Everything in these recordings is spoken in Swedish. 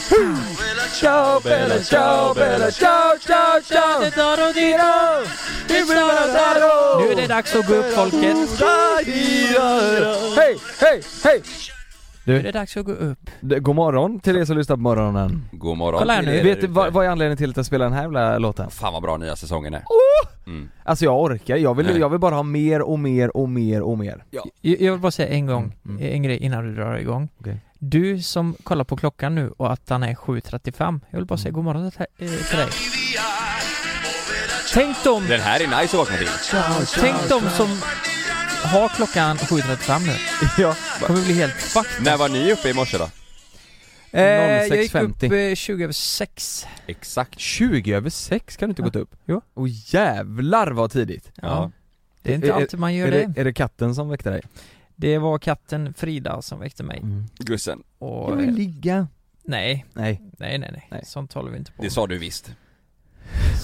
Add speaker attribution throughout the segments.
Speaker 1: Ciao, bella, ciao, bella, ciao, ciao, ciao!
Speaker 2: Nu är det dags att gå upp folket.
Speaker 1: Hej, hej, hej!
Speaker 2: Nu är det dags att gå upp.
Speaker 1: Det- God morgon till er som lyssnar på morgonen.
Speaker 3: God morgon
Speaker 2: Kolla här
Speaker 3: till
Speaker 2: nu.
Speaker 3: er
Speaker 1: Vet du
Speaker 3: ute.
Speaker 1: vad, vad är anledningen till att jag spelar den här jävla låten?
Speaker 3: Fan vad bra nya säsongen
Speaker 1: Oh.
Speaker 3: är.
Speaker 1: Alltså jag orkar, jag vill,
Speaker 3: Nej.
Speaker 1: jag vill bara ha mer och mer och mer och mer.
Speaker 2: Jag jag vill bara säga en gång,
Speaker 1: Mm,
Speaker 2: en grej innan du drar igång.
Speaker 1: Okej.
Speaker 2: Du som kollar på klockan nu och att han är 7.35, jag vill bara säga god morgon till eh, till dig. Tänk dem,
Speaker 3: Den här är nice att vakna till.
Speaker 2: tänk dem som har klockan 7.35 nu.
Speaker 1: Ja.
Speaker 2: Kommer bli helt fucked.
Speaker 3: När var ni uppe i morse då?
Speaker 2: Eh, jag gick upp
Speaker 1: 06.50.
Speaker 2: eh, 20 över 6.
Speaker 3: Exakt.
Speaker 1: 20 över 6 kan du inte gått upp?
Speaker 2: Jo.
Speaker 1: Och jävlar vad tidigt!
Speaker 2: Ja.
Speaker 3: Ja.
Speaker 2: Det är inte
Speaker 1: Är-
Speaker 2: alltid man gör
Speaker 1: Är
Speaker 2: det.
Speaker 1: det, är det katten som väckte dig?
Speaker 2: Det var katten Frida som väckte mig.
Speaker 3: Gussen,
Speaker 2: Och,
Speaker 1: Jag vill ligga.
Speaker 2: nej,
Speaker 1: Nej,
Speaker 2: nej, nej, nej,
Speaker 1: Nej.
Speaker 2: Sånt håller vi inte på
Speaker 3: det
Speaker 2: med.
Speaker 3: sa du visst.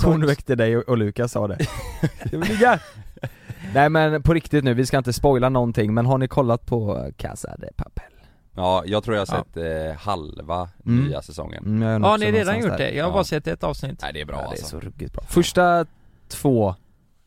Speaker 1: hon väckte dig och, och Lukas sa det. Jag vill ligga! Nej men på riktigt nu, vi ska inte spoila någonting men har ni kollat på eh, Casa de Papel?
Speaker 3: Ja, jag tror jag har sett eh, halva
Speaker 1: Mm.
Speaker 3: nya säsongen.
Speaker 1: Mm, jag är nog
Speaker 2: Ja,
Speaker 1: också
Speaker 2: ni har redan
Speaker 1: någonstans
Speaker 2: gjort
Speaker 1: där.
Speaker 2: det. Jag har
Speaker 3: Ja.
Speaker 2: bara sett ett avsnitt.
Speaker 3: Nej det är bra
Speaker 1: ja, det är
Speaker 3: alltså.
Speaker 1: så ruggigt bra. Första två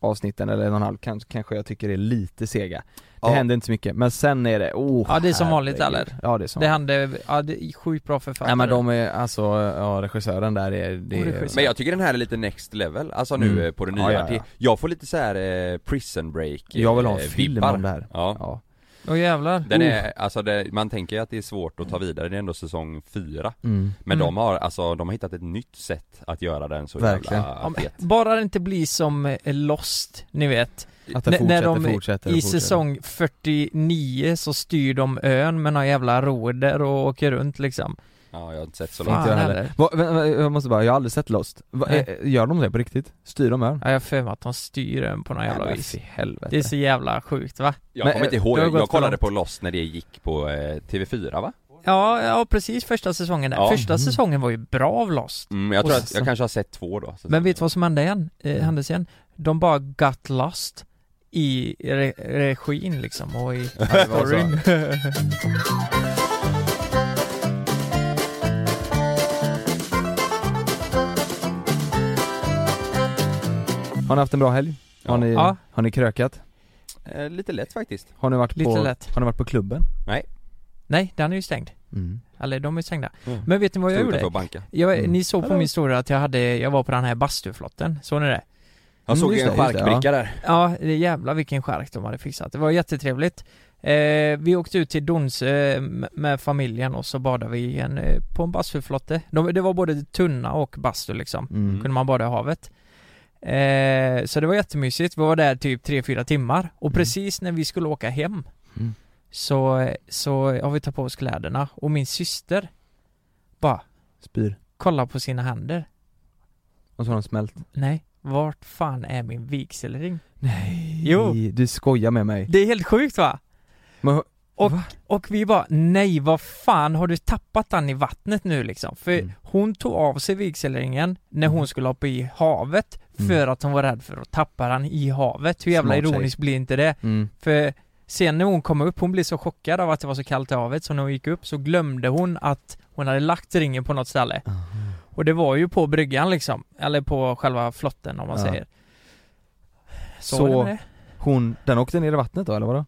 Speaker 1: avsnitten, eller en och en halv, kan- kanske jag tycker är lite sega. Det
Speaker 3: Ja.
Speaker 1: händer inte så mycket, men sen är det, oh,
Speaker 2: Ja, det är som
Speaker 1: herregud.
Speaker 2: vanligt, eller?
Speaker 1: Ja det är som
Speaker 2: Det
Speaker 1: vanligt.
Speaker 2: hände, ja det är sjukt bra författare.
Speaker 1: Nej men de är, alltså, ja regissören där är, det
Speaker 2: Och
Speaker 1: är
Speaker 2: regissören.
Speaker 3: Men jag tycker den här är lite next level, alltså nu
Speaker 1: Mm.
Speaker 3: eh, på det
Speaker 1: Ja,
Speaker 3: nya.
Speaker 1: ja, ja.
Speaker 3: Det- Jag får lite så här eh, prison break eh,
Speaker 1: Jag vill ha en
Speaker 3: eh,
Speaker 1: film
Speaker 3: vibbar.
Speaker 1: om det här.
Speaker 3: Ja.
Speaker 1: Ja. Oh.
Speaker 2: Åh jävlar. Oh.
Speaker 3: Den är, alltså det, man tänker ju att det är svårt att ta vidare, det är ändå säsong fyra.
Speaker 1: Mm.
Speaker 3: Men
Speaker 2: Mm.
Speaker 3: de har, alltså de har hittat ett nytt sätt att göra den så
Speaker 1: Verkligen.
Speaker 3: jävla
Speaker 2: Ja, men
Speaker 3: fet.
Speaker 2: bara det inte blir som eh, Lost, ni vet.
Speaker 1: Att den
Speaker 2: N- när
Speaker 1: fortsätter,
Speaker 2: de
Speaker 1: fortsätter, fortsätter.
Speaker 2: I säsong 49 så styr de ön med några jävla roder och åker runt liksom.
Speaker 3: Ja, jag har inte sett så
Speaker 2: Fan.
Speaker 3: långt.
Speaker 1: Inte jag heller.
Speaker 2: heller.
Speaker 1: Va, vä- vä- jag måste bara, jag har aldrig sett Lost. Va,
Speaker 2: Nej.
Speaker 1: eh, gör de det på riktigt? Styr de ön?
Speaker 2: Ja, jag har för mig att de styr ön på något jävla
Speaker 1: Nej, men
Speaker 2: vis.
Speaker 1: fy helvete.
Speaker 2: Det är så jävla sjukt va?
Speaker 3: Jag
Speaker 1: Men,
Speaker 3: kommer inte
Speaker 1: eh,
Speaker 3: ihåg,
Speaker 1: det har
Speaker 3: jag,
Speaker 1: gått för
Speaker 3: kollade
Speaker 1: långt.
Speaker 3: på Lost när det gick på eh, TV4 va?
Speaker 2: Ja, ja precis första säsongen där.
Speaker 3: Ja.
Speaker 2: Första
Speaker 1: Mhm.
Speaker 2: säsongen var ju bra av Lost.
Speaker 3: Mm, jag tror
Speaker 2: Och
Speaker 3: att jag
Speaker 2: så-
Speaker 3: kanske har sett två då. Så-
Speaker 2: Men vet du vad som hände igen?
Speaker 1: Mm.
Speaker 2: Eh, hände sen? De bara got lost i re- regin liksom och i
Speaker 1: Ja, det var så.
Speaker 2: storyn.
Speaker 1: Har ni haft en bra helg?
Speaker 3: Ja.
Speaker 1: Har, ni,
Speaker 2: Ja.
Speaker 1: har ni krökat?
Speaker 3: Eh, lite lätt faktiskt.
Speaker 1: Har ni varit
Speaker 2: Lite
Speaker 1: på,
Speaker 2: lätt.
Speaker 1: Har ni varit på klubben?
Speaker 2: Nej, den är ju stängd. Eller de är stängda.
Speaker 3: Mm.
Speaker 2: Men vet ni vad jag
Speaker 3: Stod utanför
Speaker 2: gjorde?
Speaker 3: och banka.
Speaker 2: Jag,
Speaker 1: Mm.
Speaker 2: Ni såg på
Speaker 1: Hallå.
Speaker 2: min story att jag hade, jag var på den här bastuflotten, såg ni det?
Speaker 3: Jag
Speaker 1: Mm,
Speaker 3: såg
Speaker 1: just
Speaker 3: en
Speaker 1: det, just det,
Speaker 3: charkbricka där.
Speaker 2: Ja, det är jävla vilken skärk de hade fixat. Det var jättetrevligt. Eh, vi åkte ut till Donsö eh, m- med familjen och så badade vi i en, eh, på en bastuflotte. De, det var både tunna och bastu liksom.
Speaker 1: Mm.
Speaker 2: kunde man bada i havet. Eh, så det var jättemysigt, vi var där typ 3-4 timmar och
Speaker 1: Mm.
Speaker 2: precis när vi skulle åka hem
Speaker 1: Mm.
Speaker 2: så, så har vi tagit på oss kläderna och min syster bara
Speaker 1: Spyr.
Speaker 2: kollar på sina händer.
Speaker 1: Och så har de smält.
Speaker 2: Nej, vart fan är min vigselring?
Speaker 1: Nej.
Speaker 2: Jo.
Speaker 1: Du skojar med mig.
Speaker 2: Det är helt sjukt va?
Speaker 1: Men,
Speaker 2: Och,
Speaker 1: Va?
Speaker 2: och vi bara nej vad fan har du tappat den i vattnet nu liksom? För
Speaker 1: Mm.
Speaker 2: hon tog av sig vigselringen när hon skulle hoppa i havet för att hon var rädd för att tappa den i havet. Hur jävla
Speaker 1: Mm. Smart tjej.
Speaker 2: ironiskt blir inte det?
Speaker 1: mm.
Speaker 2: För sen när hon kom upp, hon blev så chockad av att det var så kallt i havet så när hon gick upp så glömde hon att hon hade lagt ringen på något ställe. Och det var ju på bryggan liksom, eller på själva flotten om man
Speaker 1: Ja.
Speaker 2: säger. Så,
Speaker 1: Så-
Speaker 2: var det med det.
Speaker 1: Hon, den åkte ner i vattnet då eller vadå?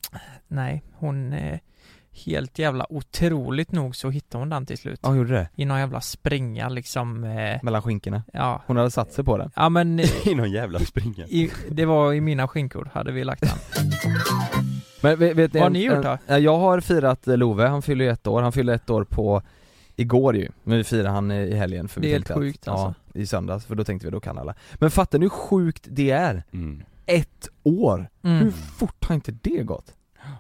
Speaker 2: Nej, hon eh, helt jävla otroligt nog så hittade hon den till slut.
Speaker 1: Ja hon gjorde det.
Speaker 2: I någon jävla springa liksom, eh,
Speaker 1: Mellan skinkorna.
Speaker 2: ja.
Speaker 1: Hon hade satt sig på den.
Speaker 2: Ja men eh,
Speaker 3: I någon jävla springa.
Speaker 2: i, det var i mina skinkor hade vi lagt den.
Speaker 1: Men vet, vet
Speaker 2: Vad har ni gjort då?
Speaker 1: en, Jag har firat eh, Love, han fyller ju ett år, han fyllde ett år på Igår ju, men vi firade han i i helgen för vi
Speaker 2: Det är helt
Speaker 1: tänkte att-
Speaker 2: sjukt, alltså.
Speaker 1: Ja, i söndags, för då tänkte vi då kan alla Men fattar ni hur sjukt det är?
Speaker 3: Mm.
Speaker 1: Ett år! Hur
Speaker 2: Mm.
Speaker 1: fort har inte det gått?
Speaker 2: Ja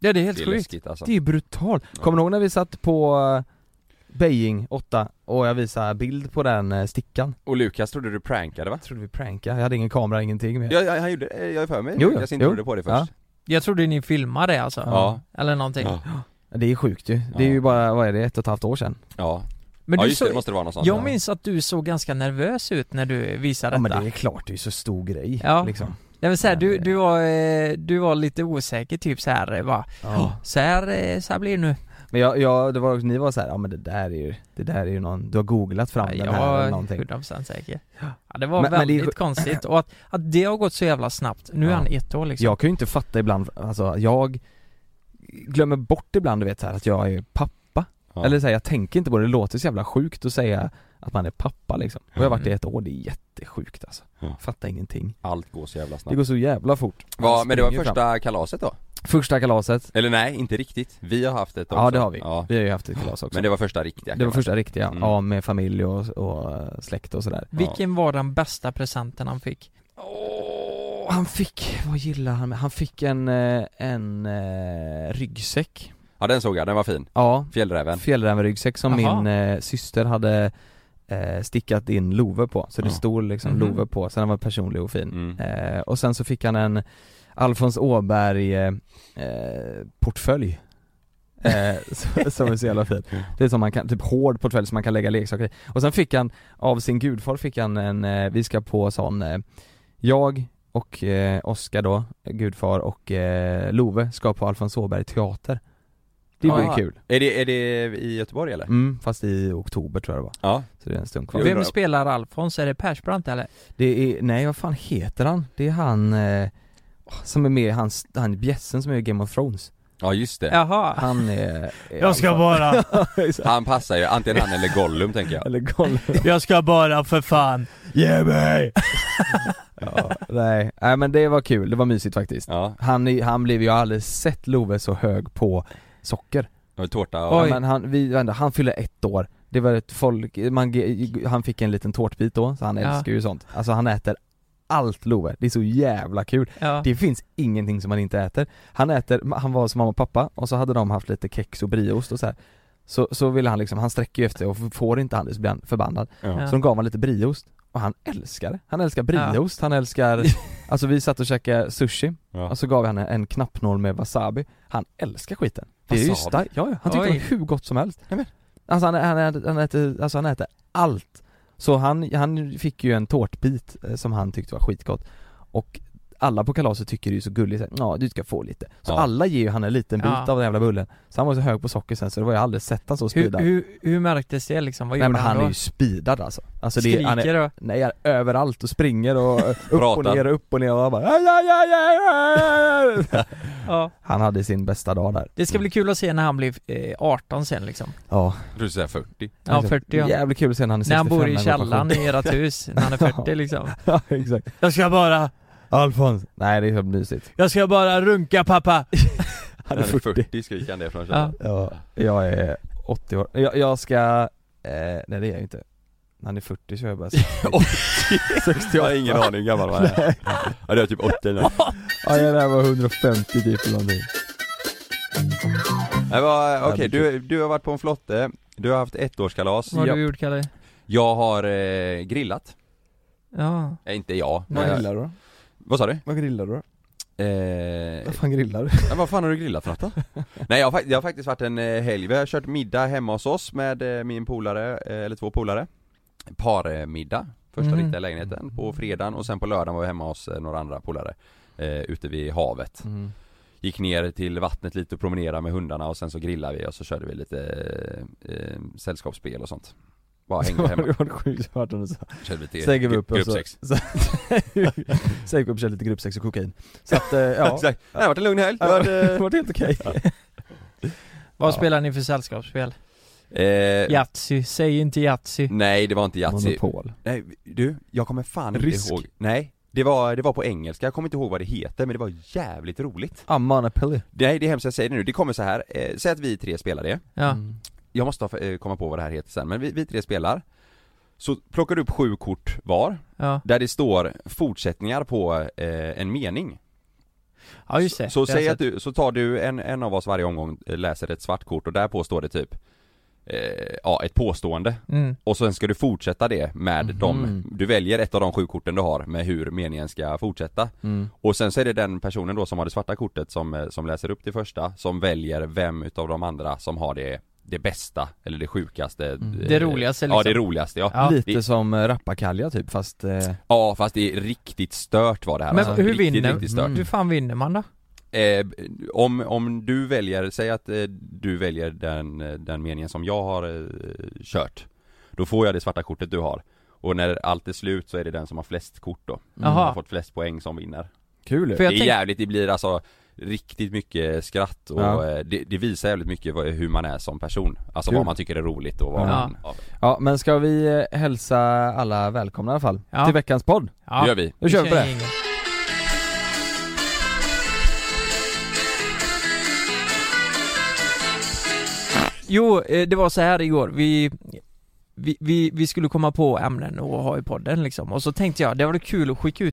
Speaker 2: det är
Speaker 3: Det
Speaker 2: helt
Speaker 3: är
Speaker 2: sjukt.
Speaker 3: läskigt alltså.
Speaker 1: Det är ju brutalt!
Speaker 3: Ja.
Speaker 1: Kommer ni ihåg när vi satt på eh, Beijing 8 och jag visade bild på den eh, stickan?
Speaker 3: Och Lukas trodde du prankade va?
Speaker 1: Jag trodde vi prankade, jag hade ingen kamera, ingenting mer
Speaker 3: Ja, ja, han gjorde det, jag är för mig.
Speaker 1: Jo, ja.
Speaker 3: Lukas inte
Speaker 1: Jo.
Speaker 3: trodde på det först.
Speaker 2: Jag trodde ni filmade det alltså.
Speaker 3: Ja.
Speaker 2: Eller någonting.
Speaker 3: Ja.
Speaker 1: Det är sjukt ju, det är
Speaker 3: Ja.
Speaker 1: ju bara, vad är det, ett och ett halvt år sedan?
Speaker 3: Ja,
Speaker 2: Men
Speaker 3: ja
Speaker 2: du
Speaker 3: just det,
Speaker 2: såg,
Speaker 3: det måste det vara något sånt.
Speaker 1: ja.
Speaker 2: jag minns att du såg ganska nervös ut när du visade
Speaker 1: Ja men
Speaker 2: detta.
Speaker 1: det är klart, det är ju så stor grej
Speaker 2: Ja.
Speaker 1: liksom
Speaker 2: Jag vill säga,
Speaker 1: Ja,
Speaker 2: du,
Speaker 1: det-
Speaker 2: du, var, eh, du var lite osäker typ så här, eh, bara,
Speaker 1: ja.
Speaker 2: så här, eh, så här blir det nu.
Speaker 1: Men jag, jag det var, ni var så här, ja men det där är ju, det där är ju någon, du har googlat fram
Speaker 2: Ja,
Speaker 1: den här eller någonting
Speaker 2: Jag är 100% säker. Ja, det var
Speaker 1: Men- men det är-
Speaker 2: väldigt konstigt och att, att det har gått så jävla snabbt. Nu är
Speaker 1: Ja.
Speaker 2: han ett år liksom.
Speaker 1: Jag kan ju inte fatta ibland, alltså jag glömmer bort ibland du vet så här, att jag är pappa,
Speaker 3: Ja.
Speaker 1: eller så här, jag tänker inte på det, det låter så jävla sjukt att säga att man är pappa liksom. Och jag har varit i
Speaker 2: Mm.
Speaker 1: ett år, det är jättesjukt alltså.
Speaker 3: Ja.
Speaker 1: Fattar ingenting.
Speaker 3: Allt går så jävla
Speaker 1: Det
Speaker 3: snabbt.
Speaker 1: går så jävla fort.
Speaker 3: Ja,
Speaker 1: Man
Speaker 3: men det var
Speaker 1: springer
Speaker 3: första
Speaker 1: fram.
Speaker 3: kalaset då?
Speaker 1: första kalaset,
Speaker 3: Eller nej, inte riktigt. Vi har haft ett också.
Speaker 1: ja det har vi.
Speaker 3: Ja.
Speaker 1: Vi har ju haft ett kalas också.
Speaker 3: Men det var första riktiga
Speaker 1: Det var
Speaker 3: kalas.
Speaker 1: första riktiga,
Speaker 3: Mm.
Speaker 1: ja med familj och, och eh, släkt och sådär
Speaker 2: Vilken var den bästa presenten han fick?
Speaker 1: Åh, han fick, vad gillar han med? Han fick en, eh, en eh, ryggsäck
Speaker 3: Ja den såg jag, den var fin.
Speaker 1: Ja,
Speaker 3: Fjällräven.
Speaker 1: fjällrävenryggsäck som
Speaker 2: Jaha.
Speaker 1: min eh, syster hade eh, stickat in Love på, så det
Speaker 3: Ja.
Speaker 1: stod liksom
Speaker 2: Mhm.
Speaker 1: Love på, sen den var personlig och fin
Speaker 3: Mm.
Speaker 1: eh, Och sen så fick han en Alfons Åberg eh, eh, portfölj eh, så- som är så jävla fin.
Speaker 3: Mm.
Speaker 1: Det är som man kan, typ hård portfölj som man kan lägga leksaker i. Och sen fick han, av sin gudfar fick han en, eh, vi ska på sån, eh, jag och eh, Oskar då, gudfar och eh, Love ska på Alfons Åberg teater. Det var ju
Speaker 3: Ah.
Speaker 1: kul.
Speaker 3: Är, det, är det i Göteborg eller?
Speaker 1: Mm, fast i oktober tror jag det var.
Speaker 3: Ja.
Speaker 1: Så det är en stund kvar.
Speaker 3: Jo. undrar-
Speaker 2: Vem spelar Alfons? Är det Persbrandt eller?
Speaker 1: Det är, nej vad fan heter han? Det är han eh, som är med, han, han bjässen som är i Game of Thrones.
Speaker 3: Ja just det.
Speaker 2: Jaha.
Speaker 1: Han är... är
Speaker 2: bara,
Speaker 1: vara...
Speaker 3: Han passar ju, antingen han eller Gollum tänker jag.
Speaker 1: Eller golv.
Speaker 2: jag ska bara för fan.
Speaker 1: Ge mig! ja, nej. nej men det var kul, det var mysigt faktiskt.
Speaker 3: Ja,
Speaker 1: Han, är- han blev ju jag har aldrig sett Love så hög på socker.
Speaker 3: och tårta och...
Speaker 1: Ja,
Speaker 2: Oj.
Speaker 1: men han, vi, vänta, han fyllde ett år. Det var ett folk, man, ge- han fick en liten tårtbit då, så han
Speaker 2: Ja.
Speaker 1: älskar ju sånt. Alltså han äter allt Love, det är så jävla kul.
Speaker 2: Ja.
Speaker 1: Det finns ingenting som han inte äter. Han äter, han var som mamma och pappa och så hade de haft lite kex och brieost och så här. Så, så ville han liksom, han sträcker ju efter och får inte han det så blir han förbannad.
Speaker 3: Ja.
Speaker 1: Så de gav han lite brieost och han älskar det. Han älskar brieost, han älskar, alltså vi satt och käkade sushi
Speaker 3: Ja.
Speaker 1: och så gav han en knappnål med wasabi. Han älskar skiten. Det är ju
Speaker 3: Wasabi?
Speaker 1: starkt, ja, ja. han tyckte det
Speaker 2: Oj.
Speaker 1: var hur gott som helst.
Speaker 3: Nej, men.
Speaker 1: Alltså han, han, äter- han, äter, alltså han äter allt. Så han, han fick ju en tårtbit eh, som han tyckte var skitgott. Och alla på kalaset tycker det är så gulligt, så här, ja du ska få lite. Så
Speaker 3: Ja.
Speaker 1: alla ger ju han en liten bit
Speaker 2: Ja.
Speaker 1: av den jävla bullen. Så han var så hög på socker sen så det var jag aldrig sett han så
Speaker 2: hur,
Speaker 1: speedad.
Speaker 2: hur, hur märktes det liksom? Vad
Speaker 1: Nej
Speaker 2: gjorde
Speaker 1: men han
Speaker 2: han
Speaker 1: är
Speaker 2: då?
Speaker 1: ju speedad alltså. alltså det, är-
Speaker 2: Skriker
Speaker 1: han är,
Speaker 2: då?
Speaker 1: nej han är överallt och springer och eh, upp och
Speaker 3: Pratar.
Speaker 1: ner och upp och ner och han bara aj, aj, aj, aj, aj, aj.
Speaker 2: Ja.
Speaker 1: Han hade sin bästa dag där.
Speaker 2: Det ska bli kul att se när han blir eh, 18 sen liksom.
Speaker 1: Ja,
Speaker 3: Jag trodde du säga 40.
Speaker 2: Ja, 40 ja.
Speaker 1: Jävligt kul att se när han är 65
Speaker 2: När han bor i
Speaker 1: går på
Speaker 2: källaren i ert hus, när han är 40 liksom.
Speaker 1: Ja exakt
Speaker 2: Jag ska bara,
Speaker 1: Alfons Nej det är så mysigt
Speaker 2: jag ska bara runka pappa!
Speaker 1: Han
Speaker 3: Han är 40 skriker han det från källaren.
Speaker 1: Ja, jag är 80 år Jag, jag ska, eh, nej det är jag ju inte Han är 40 så jag bara 68
Speaker 3: Jag har ingen aning hur gammal han är. Ja, det är typ 80 nu.
Speaker 1: Ja jag där var 150 typ eller någonting
Speaker 3: Nej, vad- Okej,
Speaker 1: det är
Speaker 3: du, du har varit på en flotte, du har haft ettårskalas.
Speaker 2: Vad har du
Speaker 1: Japp.
Speaker 2: gjort Kalle?
Speaker 3: Jag har eh, grillat.
Speaker 2: Ja.
Speaker 3: Eh, inte jag.
Speaker 2: Vad
Speaker 3: men-
Speaker 1: du då?
Speaker 3: Vad sa du?
Speaker 1: Vad grillar du då?
Speaker 3: Eh,
Speaker 1: fan grillar du?
Speaker 3: Ja, vad fan har du grillat för något då? Nej jag har, fak- jag har faktiskt varit en eh, helg, vi har kört middag hemma hos oss med eh, min polare, eh, eller två polare Parmiddag, första
Speaker 2: Mhm.
Speaker 3: riktiga lägenheten på fredagen och sen på lördagen var vi hemma hos eh, några andra polare eh, Ute vid havet
Speaker 1: Mm.
Speaker 3: Gick ner till vattnet lite och promenerade med hundarna och sen så grillade vi och så körde vi lite eh, eh, sällskapsspel och sånt Bara hängde
Speaker 1: Det
Speaker 3: hemma,
Speaker 1: var sjukt smart om du sa
Speaker 3: körde lite
Speaker 1: Sen gick
Speaker 3: gru-
Speaker 1: vi upp och så
Speaker 3: gruppsex
Speaker 1: Sen gick vi upp och körde lite gruppsex och kokain Så att, eh, ja
Speaker 3: Exakt, det har varit en lugn helg
Speaker 1: Det
Speaker 3: Det har varit,
Speaker 1: var- det
Speaker 3: eh,
Speaker 1: var helt okej
Speaker 2: Vad
Speaker 1: Ja.
Speaker 2: spelar ni för sällskapsspel?
Speaker 3: eh,
Speaker 2: Yatzy, säg inte Yatzy.
Speaker 3: Nej det var inte Yatzy,
Speaker 1: Monopol
Speaker 3: Nej, du, jag kommer fan
Speaker 1: Rysk.
Speaker 3: inte ihåg Nej, det var, det var på engelska, jag kommer inte ihåg vad det heter men det var jävligt roligt
Speaker 1: Ah, Monopoly
Speaker 3: Nej det är hemskt, jag säger det nu, det kommer så här. Eh, säg att vi tre spelar det
Speaker 2: Ja.
Speaker 1: Mm.
Speaker 3: Jag måste ha, eh, komma på vad det här heter sen, men vi, vi tre spelar Så plockar du upp sju kort var,
Speaker 2: Ja.
Speaker 3: där det står fortsättningar på eh, en mening
Speaker 2: ja, just det.
Speaker 3: Så,
Speaker 2: Det
Speaker 3: så
Speaker 2: har
Speaker 3: säg
Speaker 2: jag
Speaker 3: att du, så tar du en, en av oss varje omgång eh, läser ett svart kort och därpå står det typ eh, Ja, ett påstående
Speaker 2: sett. Mm.
Speaker 3: Och sen ska du fortsätta det med
Speaker 1: Mhm.
Speaker 3: de, du väljer ett av de sju korten du har med hur meningen ska fortsätta
Speaker 1: Mm.
Speaker 3: Och sen så är det den personen då som har det svarta kortet som, eh, som läser upp det första som väljer vem utav de andra som har det, det bästa eller det sjukaste
Speaker 1: Mm.
Speaker 3: eh,
Speaker 2: Det roligaste liksom.
Speaker 3: Ja det roligaste ja. ja
Speaker 2: Ja.
Speaker 1: Lite
Speaker 3: det-
Speaker 1: som eh, rappakalja typ fast eh,
Speaker 3: fast det är riktigt stört var det här
Speaker 2: Men
Speaker 3: alltså.
Speaker 2: hur
Speaker 3: riktigt,
Speaker 2: vinner-
Speaker 3: Riktigt stört.
Speaker 1: Mm.
Speaker 2: Hur fan vinner man då?
Speaker 3: Eh, om, om du väljer, säg att eh, du väljer den, eh, den meningen som jag har eh, kört Då får jag det svarta kortet du har Och när allt är slut så är det den som har flest kort då
Speaker 2: Jaha.
Speaker 3: Som har fått flest poäng som vinner
Speaker 1: mm. Kul ju.
Speaker 2: För jag
Speaker 3: Det är
Speaker 2: tänk-
Speaker 3: jävligt, det blir alltså Riktigt mycket skratt och
Speaker 1: Ja.
Speaker 3: eh, det, det visar jävligt mycket vad, hur man är som person Alltså
Speaker 1: Kul.
Speaker 3: vad man tycker är roligt och vad
Speaker 1: Ja.
Speaker 3: man ja.
Speaker 1: Ja men ska vi eh, hälsa alla välkomna i alla fall
Speaker 2: Ja.
Speaker 1: till veckans podd?
Speaker 3: Det
Speaker 2: Ja,
Speaker 3: gör vi
Speaker 1: Nu kör vi på det!
Speaker 2: ingen. Jo, eh, det var så här igår, vi vi, vi, vi skulle komma på ämnen och ha i podden liksom, och så tänkte jag det var kul att skicka ut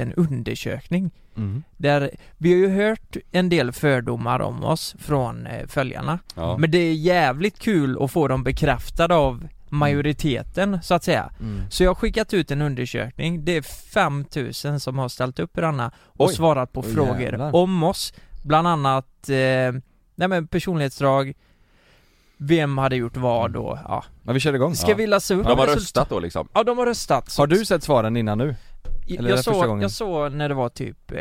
Speaker 2: en undersökning där vi har ju hört en del fördomar om oss från eh, följarna.
Speaker 3: Ja.
Speaker 2: Men det är jävligt kul att få dem bekräftade av majoriteten så att säga.
Speaker 1: Mm.
Speaker 2: Så jag har skickat ut en undersökning, det är 5000 som har ställt upp i denna och
Speaker 1: Oj.
Speaker 2: svarat på
Speaker 1: Oj,
Speaker 2: frågor
Speaker 1: jävlar.
Speaker 2: om oss. Bland annat, eh, nej men personlighetsdrag, vem hade gjort vad och ja.
Speaker 1: Ja vi kör igång!
Speaker 2: Ska
Speaker 1: Mm. Ja.
Speaker 2: vi läsa upp
Speaker 3: De har
Speaker 2: resultat-
Speaker 3: röstat då liksom
Speaker 2: Ja, de har röstat. Så
Speaker 1: Har du sett svaren innan nu? Eller är det
Speaker 2: jag,
Speaker 1: första
Speaker 2: såg,
Speaker 1: gången?
Speaker 2: jag såg när det var typ eh,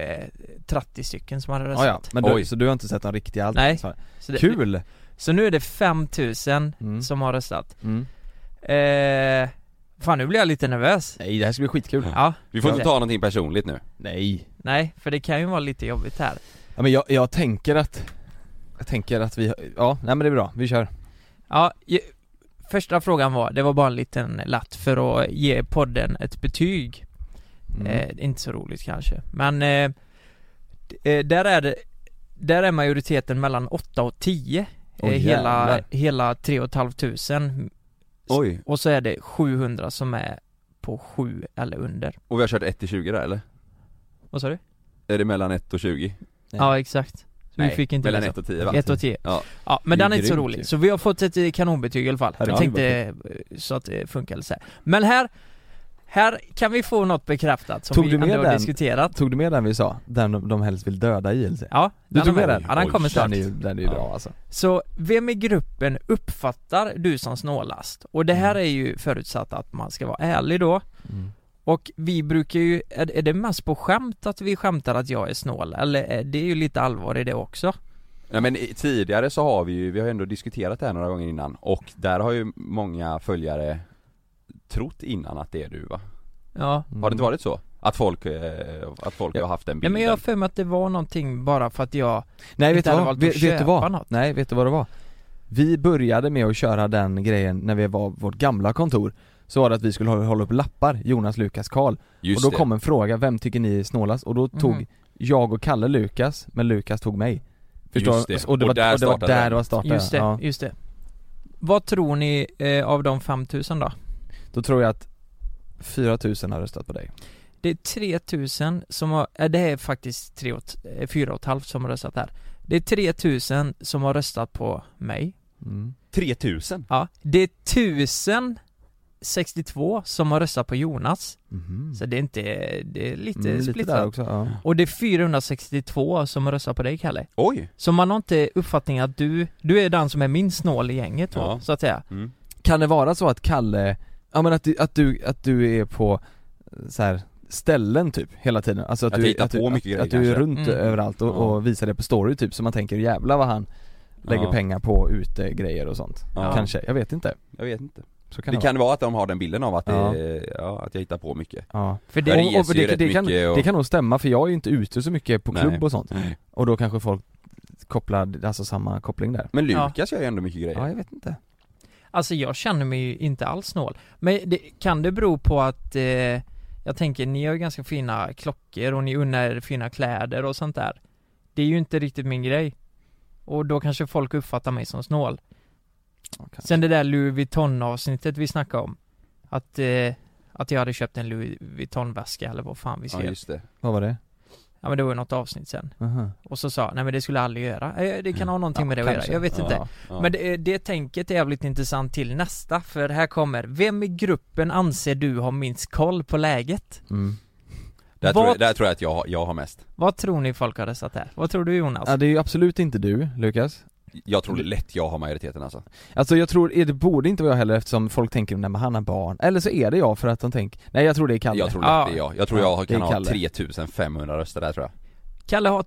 Speaker 2: 30 stycken som hade röstat.
Speaker 1: Ah, ja. men du,
Speaker 3: Oj.
Speaker 1: så du har inte sett de riktiga allt?
Speaker 2: Nej.
Speaker 1: svaren.
Speaker 2: så det,
Speaker 1: Kul!
Speaker 2: Så nu är det 5000
Speaker 1: Mm.
Speaker 2: som har röstat.
Speaker 1: Mm.
Speaker 2: Eh, fan nu blir jag lite nervös.
Speaker 1: Nej det här ska bli skitkul!
Speaker 2: Ja,
Speaker 3: Vi får
Speaker 2: Ja.
Speaker 3: inte ta någonting personligt nu
Speaker 1: Nej!
Speaker 2: nej, för det kan ju vara lite jobbigt här.
Speaker 1: Ja men jag, jag tänker att Jag tänker att vi, ja nej men det är bra, vi kör
Speaker 2: Ja, ju, första frågan var, det var bara en liten latt för att ge podden ett betyg.
Speaker 1: Mm.
Speaker 2: Eh, inte så roligt kanske, men eh, d- eh, där är det, där är majoriteten mellan 8 och 10.
Speaker 1: Åh,
Speaker 2: eh, hela,
Speaker 1: jävlar.
Speaker 2: hela 3 500
Speaker 3: Oj
Speaker 2: och så är det 700 som är på 7 eller under.
Speaker 3: Och vi har kört 1 till 20 där eller?
Speaker 2: Vad sa du?
Speaker 3: Är det mellan 1 och 20?
Speaker 1: Nej.
Speaker 2: Ja, exakt. Så vi fick inte
Speaker 3: mellan
Speaker 2: läsa.
Speaker 3: 1 och 10 va?
Speaker 2: 1 och 10
Speaker 3: Ja.
Speaker 2: Ja, men
Speaker 1: Det är
Speaker 2: den är inte så
Speaker 1: grymt
Speaker 2: rolig.
Speaker 1: ju.
Speaker 2: Så vi har fått ett eh, kanonbetyg i alla fall.
Speaker 1: Herregud,
Speaker 2: jag tänkte eh, så att det funkar lite så här. Men här, här kan vi få något bekräftat som
Speaker 1: Tog
Speaker 2: vi
Speaker 1: du med
Speaker 2: ändå har
Speaker 1: den?
Speaker 2: diskuterat.
Speaker 1: Tog du med den vi sa? Den de, de helst vill döda i LC?
Speaker 2: Ja,
Speaker 1: Du tog
Speaker 2: har
Speaker 1: med den?
Speaker 2: Ja, den
Speaker 3: Oj,
Speaker 2: kommer snart.
Speaker 1: Den är ju, den är ju
Speaker 3: Ja.
Speaker 1: bra alltså
Speaker 2: Så vem i gruppen uppfattar du som snålast? Och det här är ju förutsatt att man ska vara ärlig då.
Speaker 1: Mm.
Speaker 2: Och vi brukar ju, är, är det mest på skämt att vi skämtar att jag är snål? Eller är det är ju lite allvar i det också.
Speaker 3: Nej men i- tidigare så har vi ju, vi har ju ändå diskuterat det här några gånger innan och där har ju många följare trott innan att det är du va?
Speaker 2: Ja.
Speaker 1: Mm.
Speaker 3: Har det inte varit så? Att folk, eh, att folk
Speaker 1: Ja.
Speaker 3: har haft den
Speaker 2: Nej
Speaker 3: bilden?
Speaker 2: men jag har för mig att det var någonting bara för att jag
Speaker 1: Nej vet
Speaker 2: inte
Speaker 1: du
Speaker 2: hade
Speaker 1: vad?
Speaker 2: valt att
Speaker 1: Vet, vet du
Speaker 2: köpa
Speaker 1: vad?
Speaker 2: något.
Speaker 1: Nej vet du vad det var? Vi började med att köra den grejen när vi var vårt gamla kontor Så var det att vi skulle hå- hålla upp lappar, Jonas, Lukas, Karl
Speaker 3: Just
Speaker 1: Och då
Speaker 3: det.
Speaker 1: kom en fråga, vem tycker ni är snålast? Och då tog
Speaker 2: Mhm.
Speaker 1: jag och Kalle Lukas, men Lukas tog mig Förstår
Speaker 3: Just
Speaker 1: du?
Speaker 3: det.
Speaker 1: Och det
Speaker 3: Och
Speaker 1: var
Speaker 3: där
Speaker 1: där, och det, var
Speaker 3: startade
Speaker 1: där
Speaker 3: det.
Speaker 1: det var starten
Speaker 2: Just det,
Speaker 1: ja.
Speaker 2: just det. Vad tror ni eh, av de 5000 då?
Speaker 1: Då tror jag att 4000 har röstat på dig
Speaker 2: Det är 3000 som har, eh, det är faktiskt 3 och, t- eh, fyra och ett halvt som har röstat här. Det är 3000 som har röstat på mig.
Speaker 1: Mm.
Speaker 3: 3000?
Speaker 2: Ja. Det är 1062 som har röstat på Jonas.
Speaker 1: Mhm.
Speaker 2: Så det är inte, det är lite
Speaker 1: Mm, lite där
Speaker 2: splittrat.
Speaker 1: också, ja.
Speaker 2: Och det är 462 som har röstat på dig Kalle.
Speaker 3: Oj!
Speaker 2: Så man har inte uppfattningen att du, du är den som är minst snål i gänget då,
Speaker 3: Ja.
Speaker 2: så att säga.
Speaker 3: Mm.
Speaker 1: Kan det vara så att Kalle, ja men att du, att du, att du är på eh, så här ställen typ hela tiden? Alltså att,
Speaker 3: Att
Speaker 1: du,
Speaker 3: hitta
Speaker 1: att, du,
Speaker 3: på mycket
Speaker 1: att,
Speaker 3: grejer
Speaker 1: att du är
Speaker 3: kanske.
Speaker 1: runt
Speaker 2: Mm.
Speaker 1: överallt och,
Speaker 3: Ja.
Speaker 1: och visar det på story typ så man tänker jävla vad han lägger
Speaker 3: Ja.
Speaker 1: pengar på utegrejer och sånt
Speaker 3: Ja.
Speaker 1: Kanske, jag vet inte.
Speaker 3: Jag vet inte.
Speaker 1: Så kan
Speaker 3: Det
Speaker 1: det,
Speaker 3: kan vara att de har den bilden av att, det,
Speaker 1: Ja.
Speaker 3: ja, att jag hittar på mycket.
Speaker 1: vara. Ja.
Speaker 2: För
Speaker 3: Ja,
Speaker 2: det,
Speaker 3: det
Speaker 1: Och- och
Speaker 3: ges ju rätt
Speaker 1: det, kan,
Speaker 3: mycket och- Mm.
Speaker 1: det kan nog stämma för jag är ju inte ute så mycket på
Speaker 3: Nej.
Speaker 1: klubb och sånt Och då kanske folk kopplar, alltså samma koppling där
Speaker 3: Men Lukas gör ju ändå mycket grejer.
Speaker 1: Ja jag vet inte
Speaker 2: Alltså jag känner mig ju inte alls snål. Men det, kan det bero på att eh, jag tänker, ni har ju ganska fina klockor och ni unnar er fina kläder och sånt där. Det är ju inte riktigt min grej. Och då kanske folk uppfattar mig som snål.
Speaker 1: Ja, kanske.
Speaker 2: Sen det där Louis Vuitton avsnittet vi snackade om. Att, eh, Att jag hade köpt en Louis Vuitton-väska eller vad fan vi
Speaker 3: Ja
Speaker 2: skrev. Ja,
Speaker 3: just det.
Speaker 1: Vad var det?
Speaker 2: men det var ju något avsnitt sen.
Speaker 1: Aha.
Speaker 2: Och så sa jag, nej men det skulle jag aldrig göra. Eh, Det kan ha någonting med det att
Speaker 1: kanske.
Speaker 2: göra, jag vet inte.
Speaker 3: Ja, ja.
Speaker 2: Men det, det tänket är jävligt intressant till nästa, för här kommer Vem i gruppen anser du har minst koll på läget?
Speaker 1: Mm.
Speaker 3: där, tror jag,
Speaker 2: vad-
Speaker 3: där tror jag att jag, har- jag har mest.
Speaker 2: Vad tror ni folk hade satt här? Vad tror du Jonas?
Speaker 1: Ja, det är ju absolut inte du, Lukas
Speaker 3: Jag tror lätt jag har majoriteten alltså.
Speaker 1: Alltså jag tror, eh, det borde inte vara jag heller eftersom folk tänker nej men han har barn, eller så är det jag för att de tänker, nej jag tror det är Kalle
Speaker 3: Jag tror
Speaker 2: Ja.
Speaker 3: lätt det är jag. Jag tror
Speaker 1: Ja,
Speaker 3: jag
Speaker 1: det är
Speaker 3: kan ha
Speaker 1: Kalle.
Speaker 3: 3500 röster där tror jag.
Speaker 2: Kalle har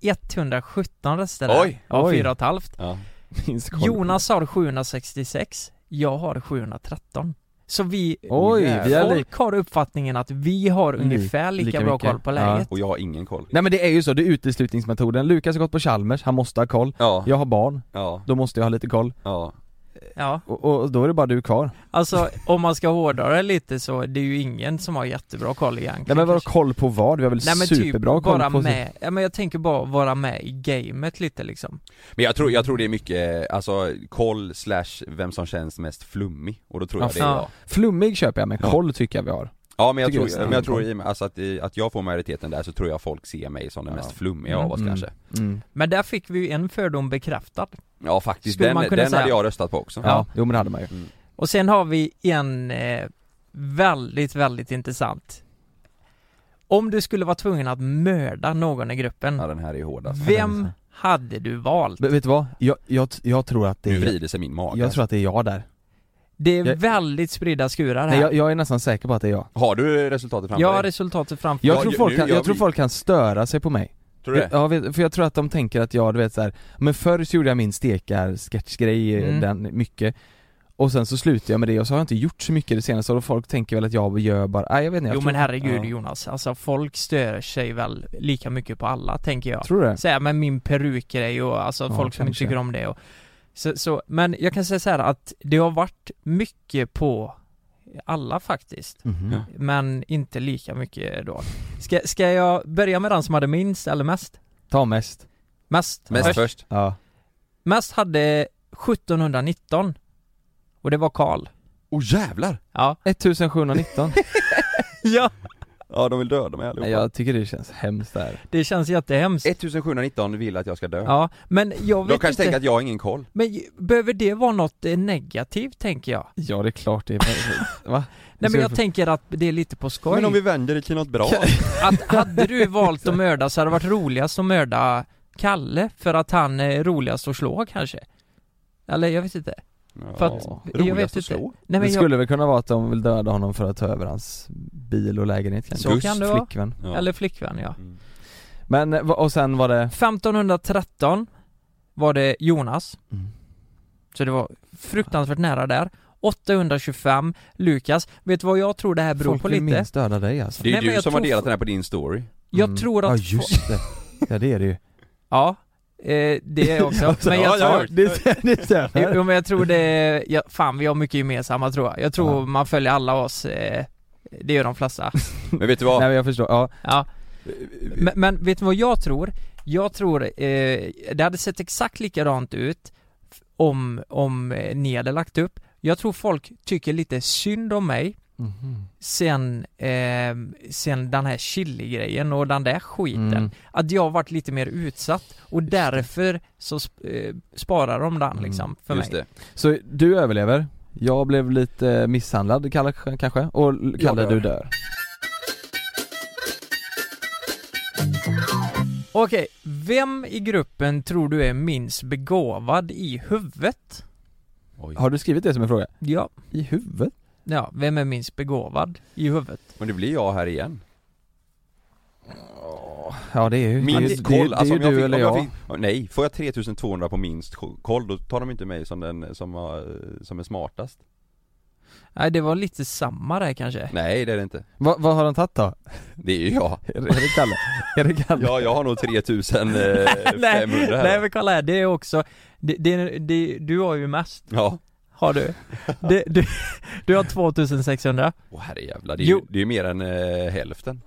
Speaker 2: 3117 röster
Speaker 3: Oj!
Speaker 2: av
Speaker 1: Oj.
Speaker 2: 4,5
Speaker 3: Ja.
Speaker 1: Minns koll.
Speaker 2: Jonas har 766 Jag har 713 Så vi,
Speaker 1: Oj, vi har lik...
Speaker 2: folk har uppfattningen att vi har
Speaker 1: Li-
Speaker 2: ungefär lika,
Speaker 1: lika
Speaker 2: bra
Speaker 1: mycket.
Speaker 2: koll på
Speaker 1: Ja.
Speaker 2: läget
Speaker 3: Och jag har ingen koll.
Speaker 1: Nej men det är ju så, det är uteslutningsmetoden, Lukas har gått på Chalmers, han måste ha koll
Speaker 3: Ja,
Speaker 1: Jag har barn,
Speaker 3: ja,
Speaker 1: då måste jag ha lite koll,
Speaker 3: ja.
Speaker 2: ja.
Speaker 1: och, och då är det bara du kvar
Speaker 2: Alltså om man ska hårdra det lite så, det är ju ingen som har jättebra koll egentligen
Speaker 1: Nej men vadå
Speaker 2: kanske.
Speaker 1: koll på vad? Vi har väl
Speaker 2: Nej men typ
Speaker 1: superbra koll
Speaker 2: vara
Speaker 1: på
Speaker 2: med, ja, men jag tänker bara vara med i gamet lite liksom
Speaker 3: Men jag tror, jag tror det är mycket, alltså koll slash vem som känns mest flummig. Och då tror jag
Speaker 1: Ja,
Speaker 3: det är
Speaker 2: fan.
Speaker 3: jag.
Speaker 1: Flummig köper jag, men
Speaker 3: Ja.
Speaker 1: koll tycker jag vi har
Speaker 3: Ja men jag
Speaker 1: Tycker
Speaker 3: tror,
Speaker 1: jag är
Speaker 3: men jag tror i och med, alltså att, i- att jag får majoriteten där så tror jag folk ser mig som den
Speaker 1: Ja.
Speaker 3: mest flummiga av oss
Speaker 1: Mm.
Speaker 3: kanske.
Speaker 1: mm.
Speaker 2: Men där fick vi ju en fördom bekräftad
Speaker 3: Ja faktiskt,
Speaker 2: Skulle
Speaker 3: den,
Speaker 2: man
Speaker 3: den
Speaker 2: kunna
Speaker 3: hade
Speaker 2: säga.
Speaker 3: jag röstat på också.
Speaker 1: ja. jo men det hade man ju
Speaker 2: Och sen har vi en eh, väldigt, väldigt intressant Om du skulle vara tvungen att mörda någon i gruppen
Speaker 3: Ja, den här är hård alltså.
Speaker 2: Vem hade du valt?
Speaker 1: Men vet du vad? Jag, jag, jag tror att det
Speaker 3: Nu
Speaker 1: är,
Speaker 3: vrider sig min mage.
Speaker 1: jag tror att det är jag där
Speaker 2: Det är
Speaker 1: jag-
Speaker 2: väldigt spridda skurar här
Speaker 1: Nej
Speaker 2: jag,
Speaker 1: jag, jag är nästan säker på att det är jag
Speaker 3: Har du resultatet framför dig?
Speaker 2: har resultatet framför
Speaker 1: Jag,
Speaker 3: Ja,
Speaker 1: tror,
Speaker 3: ju-
Speaker 1: folk
Speaker 3: nu
Speaker 1: kan,
Speaker 3: gör
Speaker 1: jag tror
Speaker 3: vi-
Speaker 1: folk kan störa sig på mig
Speaker 3: Tror du det?
Speaker 1: Ja, vet- för jag tror att de tänker att jag, du vet så här, men förr så gjorde jag min stekar-sketchgrej, eh,
Speaker 2: Mm.
Speaker 1: den, mycket Och sen så slutade jag med det och så har jag inte gjort så mycket det senaste och folk tänker väl att jag gör bara, nej jag vet inte, jag
Speaker 2: Jo
Speaker 1: tror,
Speaker 2: men
Speaker 3: ja.
Speaker 2: herregud Jonas, alltså folk stör sig väl lika mycket på alla tänker jag
Speaker 1: tror du det?
Speaker 2: säga men min perukgrej och alltså
Speaker 1: Ja,
Speaker 2: folk som inte
Speaker 1: kanske.
Speaker 2: tycker om det och så, så, men jag kan säga så här att det har varit mycket på alla faktiskt
Speaker 1: Mhm.
Speaker 3: Ja.
Speaker 2: Men inte lika mycket då Ska, ska jag börja med den som hade minst eller mest?
Speaker 1: Ta mest,
Speaker 2: Mest?
Speaker 3: Mest
Speaker 2: Först.
Speaker 3: först.
Speaker 1: ja
Speaker 2: mest hade 1719 Och det var Karl
Speaker 3: Åh oh, jävlar!
Speaker 2: Ja
Speaker 1: 1719,
Speaker 2: Ja!
Speaker 3: Ja de vill döda mig allihopa.
Speaker 1: nej jag tycker det känns hemskt där
Speaker 2: Det känns jättehemskt
Speaker 3: 1719 vill att jag ska dö.
Speaker 2: Ja, men jag
Speaker 3: de
Speaker 2: vet
Speaker 3: kanske
Speaker 2: inte
Speaker 3: tänker att jag har ingen koll.
Speaker 2: Men ju- behöver det vara något eh, negativt tänker jag?
Speaker 1: Ja det är klart det är, va?
Speaker 2: Nej men
Speaker 1: Ska
Speaker 2: jag
Speaker 1: vi-
Speaker 2: tänker att det är lite på skoj
Speaker 3: vänder det till något bra.
Speaker 2: Att hade du valt att mörda så hade det varit roligast att mörda Kalle för att han är roligast att slå kanske? Eller jag vet inte. För att,
Speaker 1: Ja.
Speaker 2: jag vet
Speaker 3: Roligast
Speaker 2: inte.
Speaker 3: att slå.
Speaker 2: Nej
Speaker 1: det
Speaker 2: men jag,
Speaker 1: skulle väl kunna vara att de vill döda honom för att ta över hans bil och lägenhet kanske,
Speaker 2: Så kan det vara.
Speaker 1: flickvän
Speaker 3: Ja.
Speaker 2: eller flickvän ja.
Speaker 3: Mm.
Speaker 1: Men, eh, va- och sen var det
Speaker 2: 1513 var det Jonas, så det var fruktansvärt nära där. 825 Lukas, vet du vad jag tror det här beror
Speaker 1: Folk
Speaker 2: på
Speaker 1: vill
Speaker 2: lite?
Speaker 1: minst döda dig alltså
Speaker 3: Det är
Speaker 2: Nej,
Speaker 3: ju
Speaker 2: men
Speaker 3: du
Speaker 2: jag
Speaker 3: som har
Speaker 2: tror-
Speaker 3: delat den här på din story.
Speaker 2: Jag tror att...
Speaker 1: Mm. Ja just det, ja det är det ju
Speaker 2: Ja, eh, det är jag också. men jag tror,
Speaker 1: det, det stämmer
Speaker 2: Jo men jag tror det, ja, fan vi har mycket gemensamma tror jag. Jag tror
Speaker 1: Ja.
Speaker 2: man följer alla oss, eh, det gör de flesta.
Speaker 3: Men vet du vad?
Speaker 1: Nej men jag förstår, ja,
Speaker 2: Ja. Men, men vet du vad jag tror? Jag tror, eh, det hade sett exakt likadant ut f- om, om eh, ni hade lagt upp. Jag tror folk tycker lite synd om mig
Speaker 1: Mhm.
Speaker 2: sen, eh, sen den här chili-grejen och den där skiten.
Speaker 1: Mm.
Speaker 2: Att jag har varit lite mer utsatt och därför så sp- eh, sparar de den
Speaker 1: Mm.
Speaker 2: liksom för
Speaker 3: Just
Speaker 2: mig.
Speaker 3: det.
Speaker 1: Så du överlever, jag blev lite eh, misshandlad Kalle, kanske, och L- Kalle
Speaker 3: dör.
Speaker 1: du dör
Speaker 2: Okej, vem i gruppen tror du är minst begåvad i huvudet?
Speaker 3: Oj.
Speaker 1: Har du skrivit det som en fråga?
Speaker 2: Ja.
Speaker 1: I huvudet?
Speaker 2: Ja, vem är minst begåvad i huvudet?
Speaker 3: Men det blir jag här igen.
Speaker 1: Ja det är ju det, är ju-
Speaker 3: Minst koll,
Speaker 1: det,
Speaker 3: alltså
Speaker 1: det,
Speaker 3: om
Speaker 1: det
Speaker 3: jag
Speaker 1: är ju
Speaker 3: fick,
Speaker 1: du eller
Speaker 3: om jag
Speaker 1: jag
Speaker 3: fick, nej, får jag 3200 på minst koll då tar de inte mig som den som, har, som är smartast
Speaker 2: Nej, det var lite samma där kanske.
Speaker 3: Nej det är det inte,
Speaker 1: Va, Vad har de tagit då?
Speaker 3: det är ju jag
Speaker 1: Är det- är det Kalle? är det Kalle?
Speaker 3: Ja jag har nog 3500
Speaker 2: nej
Speaker 3: här
Speaker 2: men kolla här, det är också, det, det, det, du har ju mest,
Speaker 3: Ja,
Speaker 2: har du. Det, du, du har 2600.
Speaker 3: åh herrejävlar, det är ju
Speaker 2: Jo.
Speaker 3: det är ju mer än eh, hälften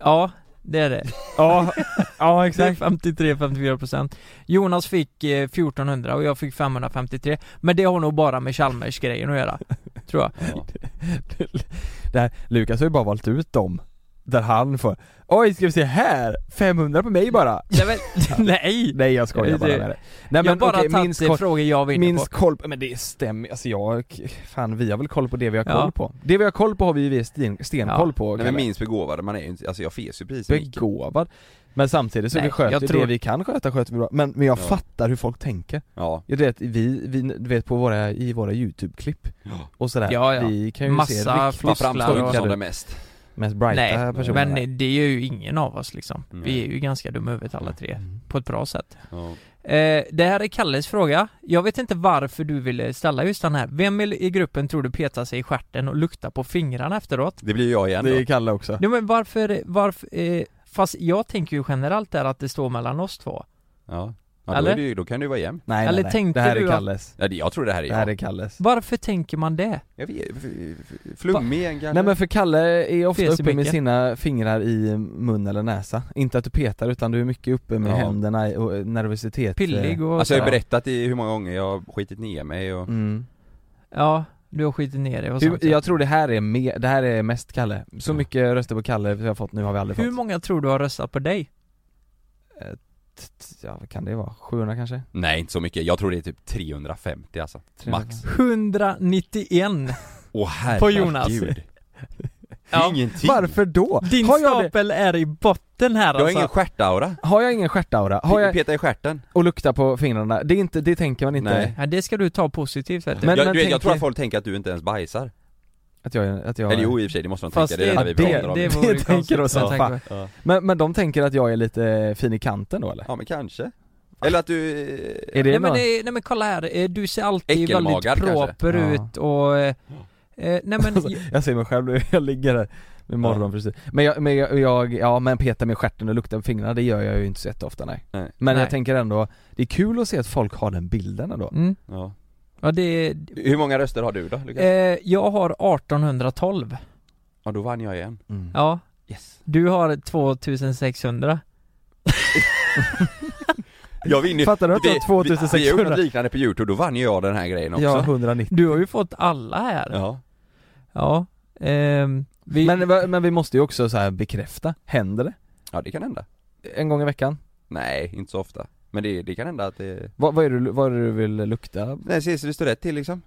Speaker 2: Ja, det är det.
Speaker 1: ja, ja
Speaker 2: Det är 53-54%. Jonas fick eh, 1400 och jag fick 553. Men det har nog bara med Chalmers grejen att göra. tror jag.
Speaker 3: Ja.
Speaker 1: Det här, Lukas har ju bara valt ut dem Där han får Oj ska vi se här! 500 på mig bara!
Speaker 2: Nej, men, nej!
Speaker 1: Nej jag skojar bara med dig Nej
Speaker 2: jag har bara
Speaker 1: okej,
Speaker 2: tagit
Speaker 1: minst
Speaker 2: okay,
Speaker 1: kort-
Speaker 2: frågor jag vinner
Speaker 1: Minst
Speaker 2: på.
Speaker 1: koll på, men det stämmer, alltså jag, fan vi har väl koll på det vi har koll
Speaker 2: Ja.
Speaker 1: på Det vi har koll på har vi ju sten, stenkoll
Speaker 2: Ja.
Speaker 1: på
Speaker 3: Nej
Speaker 1: Kalle.
Speaker 3: men minst begåvad, man är ju inte, alltså jag fes ju precis i micken.
Speaker 1: Begåvad Men samtidigt så
Speaker 2: Nej,
Speaker 1: vi sköter
Speaker 2: jag
Speaker 1: ju
Speaker 2: tror-
Speaker 1: det vi kan sköta, sköter vi bra Men, men jag
Speaker 3: Ja.
Speaker 1: fattar hur folk tänker
Speaker 3: Ja,
Speaker 1: Jag vet, vi, vi, du vet på våra, i våra youtube-klipp
Speaker 3: Ja.
Speaker 1: och sådär,
Speaker 2: Ja, ja.
Speaker 1: vi kan ju se
Speaker 2: Massa
Speaker 1: riktigt
Speaker 3: man
Speaker 2: Lyssnar
Speaker 3: framstår ju
Speaker 1: och-
Speaker 3: inte som den mest
Speaker 1: mest brighta
Speaker 2: Nej,
Speaker 1: personerna
Speaker 2: men det är ju ingen av oss liksom. Vi
Speaker 3: Nej.
Speaker 2: är ju ganska dumma i huvudet alla tre,
Speaker 1: Mm.
Speaker 2: på ett bra sätt.
Speaker 3: ja.
Speaker 2: Eh, det här är Kalles fråga. Jag vet inte varför du ville ställa just den här. Vem i i gruppen tror du petar sig i stjärten och luktar på fingrarna efteråt?
Speaker 3: Det blir ju jag igen
Speaker 1: Det
Speaker 3: då.
Speaker 1: är Kalle också
Speaker 2: Nej men varför, varför, eh, fast jag tänker ju generellt där att det står mellan oss två.
Speaker 3: Ja, ja då,
Speaker 2: Eller?
Speaker 3: är det, ju- då kan det ju vara jämn
Speaker 1: Nej,
Speaker 2: Eller
Speaker 1: nej, nej.
Speaker 2: tänkte
Speaker 1: det här
Speaker 2: du
Speaker 1: är
Speaker 2: att-
Speaker 1: Kalles,
Speaker 3: ja, det, Jag tror det här är
Speaker 1: det här
Speaker 3: jag,
Speaker 1: är Kalles
Speaker 2: Varför tänker man det?
Speaker 3: jag vet, f- f- f- flummigen kanske?
Speaker 1: Nej men för Kalle är ofta
Speaker 2: Fes
Speaker 1: uppe
Speaker 2: i
Speaker 1: med
Speaker 2: mycket.
Speaker 1: sina fingrar i mun eller näsa Inte att du petar utan du är mycket uppe med
Speaker 3: Ja.
Speaker 1: händerna och nervositet eh,
Speaker 2: Pillig och
Speaker 3: Alltså jag har
Speaker 2: sådär.
Speaker 3: berättat i hur många gånger jag har skitit ner mig och
Speaker 1: mm.
Speaker 2: Ja, du har skitit ner dig och
Speaker 1: Hur,
Speaker 2: sånt.
Speaker 1: Jag tror det här är me, det här är mest Kalle Så mycket röster på Kalle vi har fått nu har vi aldrig
Speaker 2: Hur
Speaker 1: fått
Speaker 2: många tror du har röstat på dig?
Speaker 1: Ja vad kan det vara? 700 kanske?
Speaker 3: Nej inte så mycket, jag tror det är typ 350 alltså Max
Speaker 2: 191!
Speaker 3: Åh herregud
Speaker 2: På Jonas.
Speaker 3: Det är ingenting!
Speaker 1: Varför då?
Speaker 2: Din
Speaker 1: har, jag det,
Speaker 2: stapel är i botten här
Speaker 3: Du har
Speaker 2: alltså.
Speaker 3: ingen stjärtaura?
Speaker 1: har jag ingen stjärtaura? Har jag,
Speaker 3: Peta i stjärten?
Speaker 1: och lukta på fingrarna? Det, är inte, det tänker man inte
Speaker 3: Nej.
Speaker 2: Ja, det ska du ta positivt vet du.
Speaker 1: Men-
Speaker 3: jag,
Speaker 1: men
Speaker 3: du vet, jag
Speaker 1: tänk
Speaker 3: tror
Speaker 1: er-
Speaker 3: att folk tänker att du inte ens bajsar
Speaker 1: att jag, att jag
Speaker 3: Eller jo i och för sig, det måste de
Speaker 2: Fast
Speaker 3: tänka, det är det
Speaker 2: det-
Speaker 3: enda vi
Speaker 1: ja, det-
Speaker 3: pratar om
Speaker 1: det-
Speaker 2: vore
Speaker 1: tänker
Speaker 2: konstigt,
Speaker 1: de som
Speaker 2: jag
Speaker 1: fan.
Speaker 2: tänker.
Speaker 3: ja.
Speaker 1: men, men de tänker att jag är lite fin i kanten då eller?
Speaker 3: ja men kanske Eller att du...
Speaker 1: Är det
Speaker 2: Nej men,
Speaker 1: någon-
Speaker 2: eh, nej men kolla här, eh, du ser alltid väldigt
Speaker 3: Äckelmagad kanske?
Speaker 2: proper
Speaker 1: Ja.
Speaker 2: ut och... eh, Eh, nej men,
Speaker 1: Alltså, Jag ser mig själv nu, jag ligger där med morgonfrisyr Men, jag, men jag, jag, ja men peta med stjärten och lukta med fingrarna, det gör jag ju inte så jätteofta nej.
Speaker 3: Nej.
Speaker 1: Men
Speaker 2: Nej.
Speaker 1: jag tänker ändå, det är kul att se att folk har den bilden ändå
Speaker 2: mm,
Speaker 3: Ja.
Speaker 2: ja det...
Speaker 3: eh, Hur många röster har du då Lukas?
Speaker 2: Eh, jag har 1812.
Speaker 3: Ja då vann jag igen
Speaker 1: mm.
Speaker 2: Ja,
Speaker 3: Yes
Speaker 2: du har 2600.
Speaker 3: Jag vinner ju
Speaker 1: Fattar du att det
Speaker 3: Vi-
Speaker 1: var
Speaker 3: Vi, vi har gjort
Speaker 1: 2600?
Speaker 3: något liknande på youtube, då vann ju jag den här grejen också
Speaker 1: Ja, 190
Speaker 2: Du har ju fått alla här. Ja.
Speaker 3: Ja.
Speaker 2: ehm, vi,
Speaker 1: men, va- men vi måste ju också så här bekräfta, händer det?
Speaker 3: Ja, det kan hända
Speaker 1: En gång i veckan?
Speaker 3: Nej, inte så ofta Men det, det kan hända att det...
Speaker 1: Vad, vad, är du, vad är det du vill lukta?
Speaker 3: Nej ses det står rätt till liksom